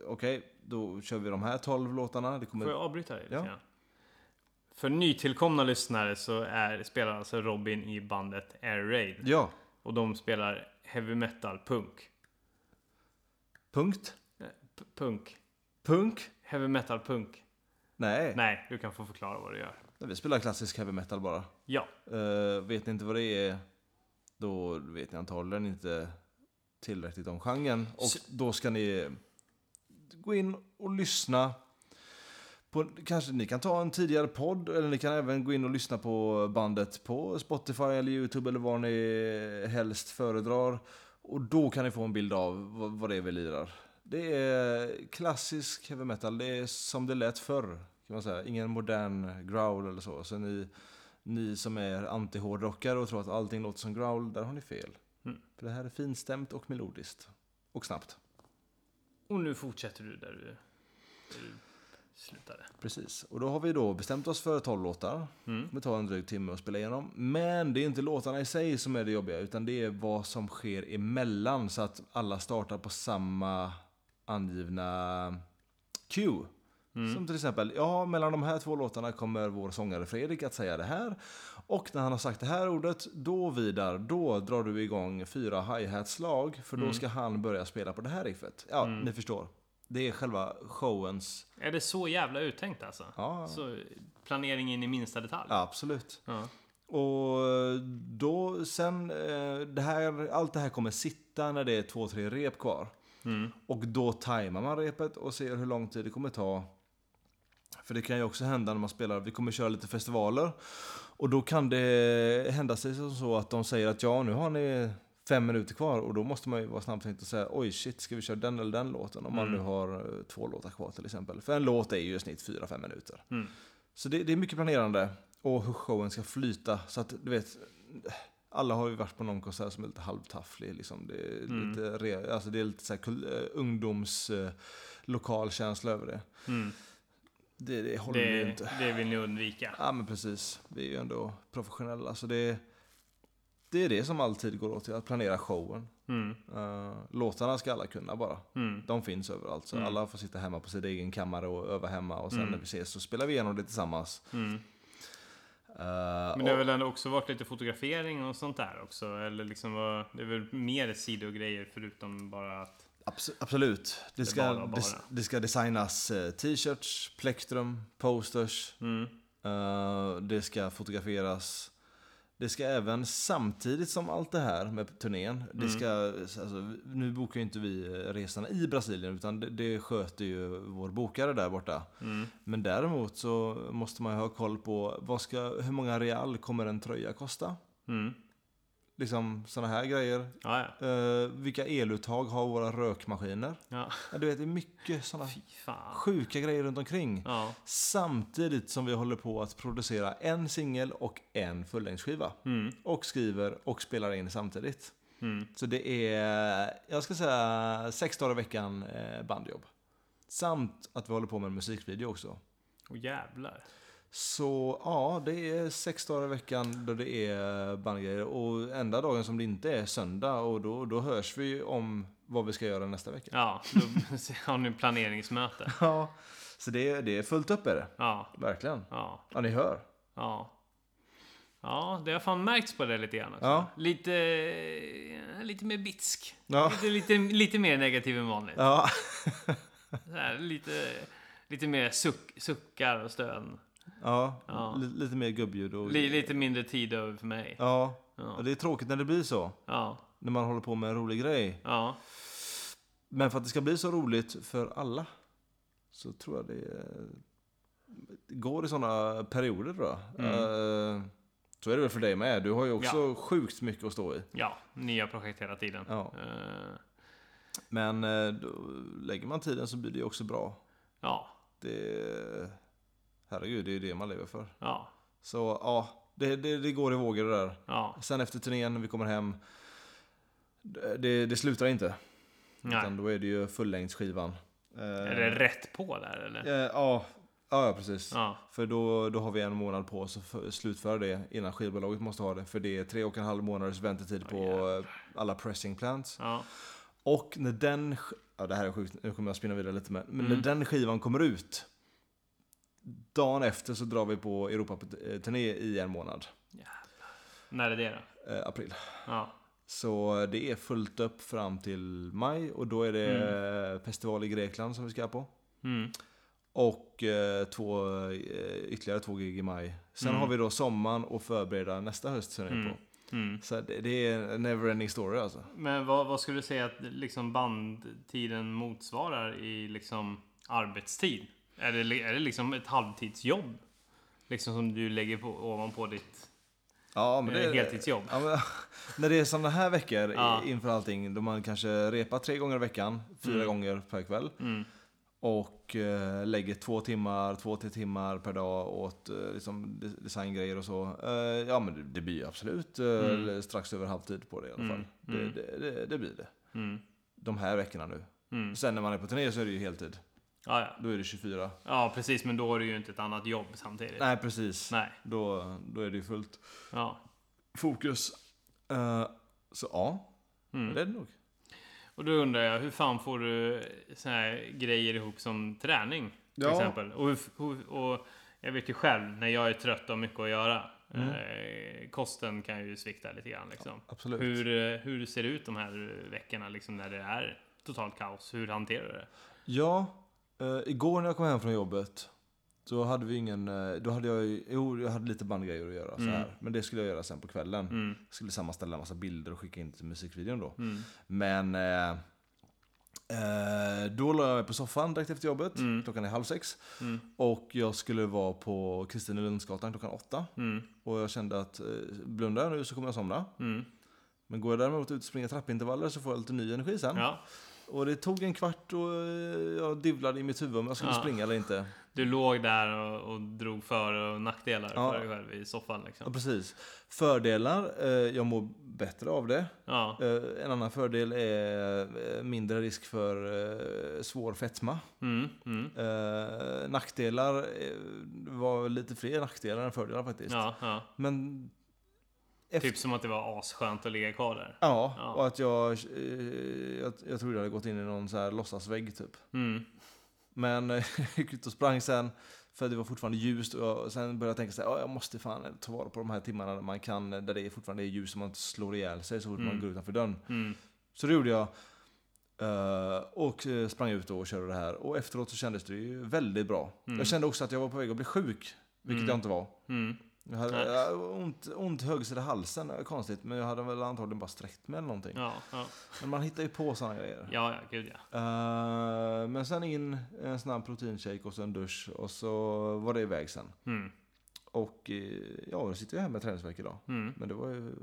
Speaker 2: Okej, då kör vi de här tolv låtarna. Det kommer...
Speaker 4: Får jag avbryta dig lite
Speaker 2: Ja.
Speaker 4: grann? För nytillkomna lyssnare så är, spelar alltså Robin i bandet Air Raid.
Speaker 2: Ja,
Speaker 4: Och de spelar heavy metal, punk.
Speaker 2: punkt.
Speaker 4: Eh, p- Punk.
Speaker 2: Punk.
Speaker 4: Heavy metal, punk.
Speaker 2: Nej.
Speaker 4: Nej, du kan få förklara vad du gör.
Speaker 2: vi spelar klassisk heavy metal bara.
Speaker 4: Ja,
Speaker 2: Eh, vet ni inte vad det är, då vet ni antagligen inte tillräckligt om genren. Och
Speaker 4: S-
Speaker 2: då ska ni gå in och lyssna. På, kanske ni kan ta en tidigare podd, eller ni kan även gå in och lyssna på bandet på Spotify eller Youtube eller var ni helst föredrar. Och då kan ni få en bild av vad, vad det är vi lirar. Det är klassisk heavy metal, det är som det lät förr. Kan man säga. Ingen modern growl eller så. Så ni, ni som är anti-hårdrockare och tror att allting låter som growl, där har ni fel.
Speaker 4: Mm.
Speaker 2: För det här är finstämt och melodiskt. Och snabbt.
Speaker 4: och nu fortsätter du där du, där du slutade.
Speaker 2: Precis. Och då har vi då bestämt oss för 12 låtar.
Speaker 4: Mm.
Speaker 2: Det tar en dryg timme att spela igenom. Men det är inte låtarna i sig som är det jobbiga, utan det är vad som sker emellan så att alla startar på samma angivna cue. Som till exempel, ja mellan de här två låtarna kommer vår sångare Fredrik att säga det här. Och när han har sagt det här ordet, då Vidar, då drar du igång fyra hi-hat-slag. För då ska han börja spela på det här riffet. Ja, ni förstår. Det är själva showens...
Speaker 4: Är det så jävla uttänkt alltså?
Speaker 2: Ja,
Speaker 4: Så planering in i minsta detalj?
Speaker 2: ja absolut.
Speaker 4: Ja.
Speaker 2: Och då sen, eh, det här, allt det här kommer sitta när det är två, tre rep kvar. Och då tajmar man repet och ser hur lång tid det kommer ta. För det kan ju också hända när man spelar, vi kommer köra lite festivaler. Och då kan det hända sig som så att de säger att ja, nu har ni fem minuter kvar. Och då måste man ju vara snabbtänkt och säga oj shit, ska vi köra den eller den låten? Om man nu har eh, två låtar kvar till exempel. För en låt är ju i snitt fyra, fem minuter. Så det, det är mycket planerande och hur showen ska flyta. Så att du vet, alla har ju varit på någon konsert som är lite halvtafflig. Liksom. Det, är lite re, alltså det är lite så här kul, eh, ungdoms eh, lokalkänsla över det.
Speaker 4: Mm.
Speaker 2: Det, det håller ju
Speaker 4: Det,
Speaker 2: inte.
Speaker 4: det vill ni undvika.
Speaker 2: Ja men precis, vi är ju ändå professionella. Så det, det är det som alltid går åt till, att planera showen.
Speaker 4: Mm.
Speaker 2: Eh, låtarna ska alla kunna bara.
Speaker 4: Mm.
Speaker 2: De finns överallt. Så
Speaker 4: Mm.
Speaker 2: alla får sitta hemma på sin egen kammare och öva hemma. Och sen
Speaker 4: Mm.
Speaker 2: när vi ses så spelar vi igenom det tillsammans.
Speaker 4: Mm.
Speaker 2: Eh,
Speaker 4: Men
Speaker 2: och-
Speaker 4: det har väl ändå också varit lite fotografering och sånt där också? Eller liksom vad, det är väl mer sidogrejer förutom bara att...
Speaker 2: Abs- Absolut. Det ska,
Speaker 4: bara, bara.
Speaker 2: des- det ska designas eh, t-shirts, plektrum, posters.
Speaker 4: Mm.
Speaker 2: eh, det ska fotograferas. Det ska även samtidigt som allt det här med turnén.
Speaker 4: Mm.
Speaker 2: Det ska, alltså, nu bokar ju inte vi eh, resorna i Brasilien utan det, det sköter ju vår bokare där borta.
Speaker 4: Mm.
Speaker 2: Men däremot så måste man ju ha koll på vad ska, hur många real kommer en tröja kosta?
Speaker 4: Mm.
Speaker 2: Liksom sådana här grejer.
Speaker 4: Ja, ja.
Speaker 2: Eh, vilka eluttag har våra rökmaskiner?
Speaker 4: ja.
Speaker 2: Ja, du vet, det är mycket sådana
Speaker 4: Fy fan.
Speaker 2: sjuka grejer runt omkring.
Speaker 4: Ja.
Speaker 2: Samtidigt som vi håller på att producera en singel och en fullängdsskiva.
Speaker 4: Mm.
Speaker 2: Och skriver och spelar in samtidigt.
Speaker 4: Mm.
Speaker 2: Så det är, jag ska säga, sex dagar i veckan eh, bandjobb. Samt att vi håller på med en musikvideo också.
Speaker 4: Åh jävlar.
Speaker 2: Så ja, det är sex dagar i veckan då det är bandgrejer. Och enda dagen som det inte är söndag och då, då hörs vi ju om vad vi ska göra nästa vecka.
Speaker 4: Ja, då har ni planeringsmöte.
Speaker 2: Ja, så det, är- det är fullt upp är det.
Speaker 4: Ja,
Speaker 2: Verkligen.
Speaker 4: ja,
Speaker 2: Ja, ni hör.
Speaker 4: ja. Ja, det har fan märkts på det lite grann. Också.
Speaker 2: Ja.
Speaker 4: Lite, eh, lite mer bitsk.
Speaker 2: Ja.
Speaker 4: Lite, lite, lite mer negativ än vanligt.
Speaker 2: Ja,
Speaker 4: Så här, lite, lite mer suck, suckar och stön.
Speaker 2: ja.
Speaker 4: Ja.
Speaker 2: li- lite mer gubbljud och...
Speaker 4: Li- Lite mindre tid över för mig.
Speaker 2: Ja.
Speaker 4: Ja.
Speaker 2: Och det är tråkigt när det blir så.
Speaker 4: Ja,
Speaker 2: När man håller på med en rolig grej.
Speaker 4: ja.
Speaker 2: Men för att det ska bli så roligt för alla så tror jag det eh, går i sådana perioder då.
Speaker 4: Mm.
Speaker 2: Eh, Så är det väl för dig med. Du har ju också sjukt mycket att stå i.
Speaker 4: Ja, nya projekt hela tiden.
Speaker 2: Ja.
Speaker 4: Eh,
Speaker 2: Men eh, då lägger man tiden så blir det ju också bra.
Speaker 4: ja,
Speaker 2: Det... Herregud, det är ju det man lever för.
Speaker 4: ja,
Speaker 2: Så ja, det, det, det går i vågor det där.
Speaker 4: ja.
Speaker 2: Sen efter turnén när vi kommer hem, det, det- det slutar inte.
Speaker 4: Nej.
Speaker 2: Utan då är det ju fullängdsskivan. Eh,
Speaker 4: Är det rätt på där eller?
Speaker 2: eh, ja, ja, ja, precis.
Speaker 4: Ja,
Speaker 2: För då, då har vi en månad på oss att för- slutföra det innan skivbolaget måste ha det. För det är tre och en halv månaders väntetid på eh, alla pressing plants.
Speaker 4: ja,
Speaker 2: Och när den... sk- Ja, det här är sjukt, nu kommer jag spinna vidare lite. Men, men när den skivan kommer ut, dagen efter så drar vi på Europaturné i en månad.
Speaker 4: när är det då?
Speaker 2: Eh, april.
Speaker 4: Ja,
Speaker 2: Så det är fullt upp fram till maj och då är det eh, festival i Grekland som vi ska på.
Speaker 4: mm,
Speaker 2: Och eh, två, eh, ytterligare två gig i maj. Sen har vi då sommaren och förbereda nästa höst sen på.
Speaker 4: mm.
Speaker 2: Så det, det är en neverending story alltså.
Speaker 4: Men vad, vad skulle du säga att liksom bandtiden motsvarar i liksom arbetstid? Är det, li- är det liksom ett halvtidsjobb? Liksom som du lägger på, ovanpå ditt...
Speaker 2: Ja, men
Speaker 4: Det är
Speaker 2: det
Speaker 4: ett heltidsjobb.
Speaker 2: Ja, men, när det är sådana här veckor i-
Speaker 4: Ja.
Speaker 2: inför allting då man kanske repar tre gånger i veckan, fyra gånger per kväll.
Speaker 4: Mm.
Speaker 2: Och eh, lägger två timmar, två till timmar per dag åt eh, liksom, de- designgrejer och så. Eh, ja men det, det blir ju absolut eh,
Speaker 4: Mm.
Speaker 2: strax över halvtid på det i alla fall. Det, det, det, det blir det.
Speaker 4: Mm.
Speaker 2: De här veckorna nu.
Speaker 4: Mm.
Speaker 2: Sen när man är på turné så är det ju heltid.
Speaker 4: Ja, ja.
Speaker 2: Då är det 24.
Speaker 4: ja, precis. Men då har du ju inte ett annat jobb samtidigt.
Speaker 2: Nej precis.
Speaker 4: Nej.
Speaker 2: Då, då är det ju fullt
Speaker 4: Ja.
Speaker 2: fokus. Eh, så ja,
Speaker 4: Mm.
Speaker 2: det är det nog.
Speaker 4: eh, Och då undrar jag, hur fan får du såna här grejer ihop som träning? Till
Speaker 5: Ja.
Speaker 4: exempel. Och, och, och jag vet ju själv när jag är trött och har mycket att göra.
Speaker 2: Mm.
Speaker 4: Eh, kosten kan ju svikta lite grann liksom.
Speaker 2: Absolut.
Speaker 4: Hur, eh, hur ser det ut de här veckorna liksom när det är totalt kaos? Hur hanterar du det?
Speaker 2: Ja, eh, igår när jag kom hem från jobbet så hade vi ingen, eh, då hade jag ju- jo jag hade lite bandgrejer att göra
Speaker 4: Mm.
Speaker 2: så här. Men det skulle jag göra sen på kvällen. Skulle sammanställa en massa bilder och skicka in till musikvideon då.
Speaker 4: Mm.
Speaker 2: Men eh, eh, då la jag mig på soffan direkt efter jobbet,
Speaker 4: Mm.
Speaker 2: klockan är halv sex. Och jag skulle vara på Kristinelundsgatan klockan åtta. Och jag kände att eh, blundar jag nu så kommer jag somna. Men går jag däremot ut och springer trappintervaller så får jag lite ny energi sen.
Speaker 4: Ja,
Speaker 2: Och det tog en kvart och eh, jag divlade i mitt huvud om jag skulle
Speaker 4: Ja.
Speaker 2: springa eller inte.
Speaker 4: du låg där och, och drog för och nackdelar
Speaker 2: Ja.
Speaker 4: för dig själv i soffan
Speaker 2: Ja,
Speaker 4: liksom.
Speaker 2: precis. Fördelar, eh, jag mår bättre av det.
Speaker 4: Ja,
Speaker 2: Eh, en annan fördel är eh, mindre risk för eh, svår fetma.
Speaker 4: mm, mm.
Speaker 2: Eh, nackdelar eh, var lite fler nackdelar än fördelar faktiskt.
Speaker 4: ja, ja.
Speaker 2: Men... Efter,
Speaker 4: Typ som att det var asskönt att ligga kvar där.
Speaker 2: Ja,
Speaker 4: Ja.
Speaker 2: och att jag, eh, jag, jag trodde jag hade gått in i någon så här låtsasvägg typ.
Speaker 4: Mm.
Speaker 2: Men eh, jag gick ut och sprang sen för det var fortfarande ljust och jag, sen började jag tänka så här, "Ja, jag måste fan ta vara på de här timmarna där man kan, eh, där det är fortfarande är ljus och man inte slår ihjäl sig så fort man går utanför dörren.
Speaker 4: Mm.
Speaker 2: Så det gjorde jag. eh, Och eh, sprang ut och körde det här. Och efteråt så kändes det ju väldigt bra. Jag kände också att jag var på väg att bli sjuk, vilket jag inte var.
Speaker 4: Mm.
Speaker 2: Jag hade
Speaker 4: Nej.
Speaker 2: jag hade ont, ont högsida i halsen, eh, konstigt. Men jag hade väl antagligen bara sträckt mig eller någonting.
Speaker 4: Ja, ja.
Speaker 2: Men man hittar ju på sådana grejer.
Speaker 4: ja, ja, gud ja.
Speaker 2: Eh, men sen in en snabb proteinshake och så en dusch och så var det iväg sen.
Speaker 4: Mm.
Speaker 2: Och eh, ja, då sitter jag här med träningsvärk idag.
Speaker 4: Mm.
Speaker 2: Men det var ju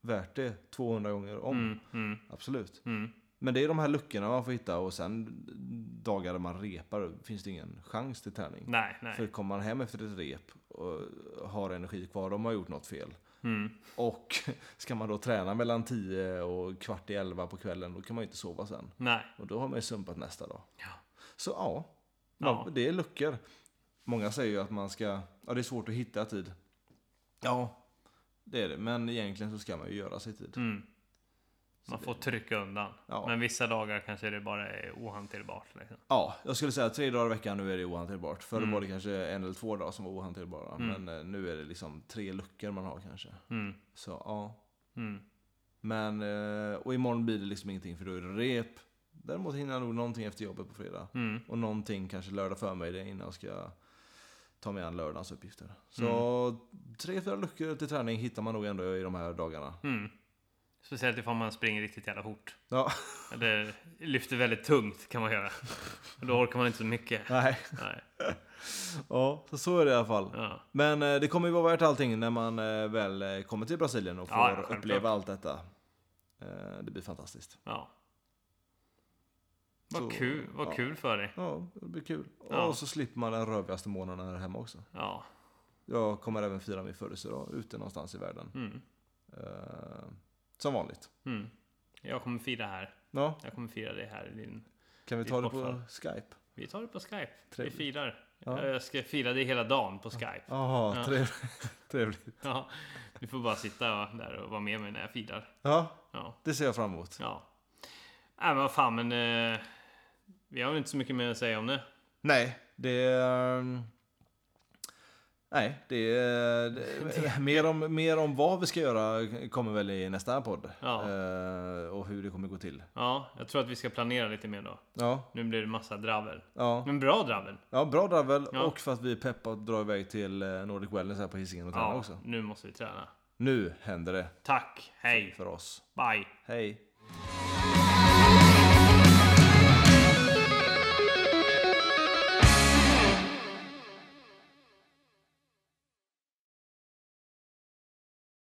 Speaker 2: värt det 200 gånger om.
Speaker 4: Mm, mm,
Speaker 2: Absolut.
Speaker 4: mm.
Speaker 2: Men det är de här luckorna man får hitta och sen dagar där man repar finns det ingen chans till träning.
Speaker 4: Nej, nej.
Speaker 2: För kommer man hem efter ett rep och har energi kvar, de har gjort något fel.
Speaker 4: Mm.
Speaker 2: Och ska man då träna mellan 10 och kvart i 11 på kvällen, då kan man ju inte sova sen.
Speaker 4: Nej.
Speaker 2: Och då har man ju sumpat nästa dag.
Speaker 4: Ja.
Speaker 2: Så ja,
Speaker 4: Ja.
Speaker 2: ja, det är luckor. Många säger ju att man ska, ja det är svårt att hitta tid. Ja, det är det. Men egentligen så ska man ju göra sig tid.
Speaker 4: Mm. Man får trycka undan.
Speaker 2: Ja.
Speaker 4: Men vissa dagar kanske det bara är ohanterbart. Liksom.
Speaker 2: Ja, jag skulle säga tre dagar i veckan, nu är det ohanterbart. Förr
Speaker 4: Mm.
Speaker 2: var det kanske en eller två dagar som var ohanterbara. Men eh, nu är det liksom tre luckor man har kanske.
Speaker 4: Mm.
Speaker 2: Så ja.
Speaker 4: Mm.
Speaker 2: Men, eh, och imorgon blir det liksom ingenting för då är det rep. Däremot hinner jag nog någonting efter jobbet på fredag.
Speaker 4: Mm.
Speaker 2: Och någonting kanske lördag för mig innan jag ska ta mig an lördagens uppgifter. Så tre, fyra luckor till träning hittar man nog ändå i de här dagarna.
Speaker 4: Mm. Speciellt ifall man springer riktigt jävla fort.
Speaker 2: Ja,
Speaker 4: Eller lyfter väldigt tungt kan man göra. Då orkar man inte så mycket.
Speaker 2: nej.
Speaker 4: Nej.
Speaker 2: Ja, så, så är det i alla fall.
Speaker 4: Ja.
Speaker 2: Men eh, det kommer ju vara värt allting när man eh, väl eh, kommer till Brasilien och får
Speaker 4: Ja, ja, självklart.
Speaker 2: uppleva allt detta. Eh, Det blir fantastiskt.
Speaker 4: Ja. Vad
Speaker 2: Så,
Speaker 4: kul, vad
Speaker 2: ja.
Speaker 4: kul för dig.
Speaker 2: Ja, det blir kul.
Speaker 4: Ja.
Speaker 2: Och så slipper man den rövigaste månaden här hemma också.
Speaker 4: Ja.
Speaker 2: Jag kommer även fira min födelsedag ute någonstans i världen.
Speaker 4: Mm.
Speaker 2: Eh, Som vanligt.
Speaker 4: Mm. Jag kommer fira här.
Speaker 2: Ja,
Speaker 4: Jag kommer fira dig här i din...
Speaker 2: kan vi
Speaker 4: Det
Speaker 2: ta
Speaker 4: är
Speaker 2: det på
Speaker 4: bortfall.
Speaker 2: Skype?
Speaker 4: Vi tar det på Skype.
Speaker 2: Trevligt.
Speaker 4: Vi firar.
Speaker 2: Ja.
Speaker 4: Jag ska fira dig hela dagen på Skype.
Speaker 2: Jaha,
Speaker 4: Ja.
Speaker 2: trevligt. trevligt.
Speaker 4: Ja, du får bara sitta där och vara med mig när jag firar.
Speaker 2: Ja,
Speaker 4: Ja,
Speaker 2: det ser jag fram emot.
Speaker 4: ja. Nej men vad fan, men eh, vi har väl inte så mycket mer att säga om det.
Speaker 2: Nej, det... är- ehm, Nej, det är... det- Mer om, mer om vad vi ska göra kommer väl i nästa podd.
Speaker 4: Ja.
Speaker 2: Eh, och hur det kommer gå till.
Speaker 4: Ja, jag tror att vi ska planera lite mer då.
Speaker 2: Ja,
Speaker 4: Nu blir det massa dravel.
Speaker 2: ja.
Speaker 4: Men bra dravel.
Speaker 2: ja bra dravel.
Speaker 4: Ja.
Speaker 2: Och för att vi är peppade att dra iväg till eh, Nordic Wellness här på Hisingen och träna
Speaker 4: Ja,
Speaker 2: också.
Speaker 4: nu måste vi träna.
Speaker 2: Nu händer det
Speaker 4: Tack, hej,
Speaker 2: för oss.
Speaker 4: bye.
Speaker 2: Hej!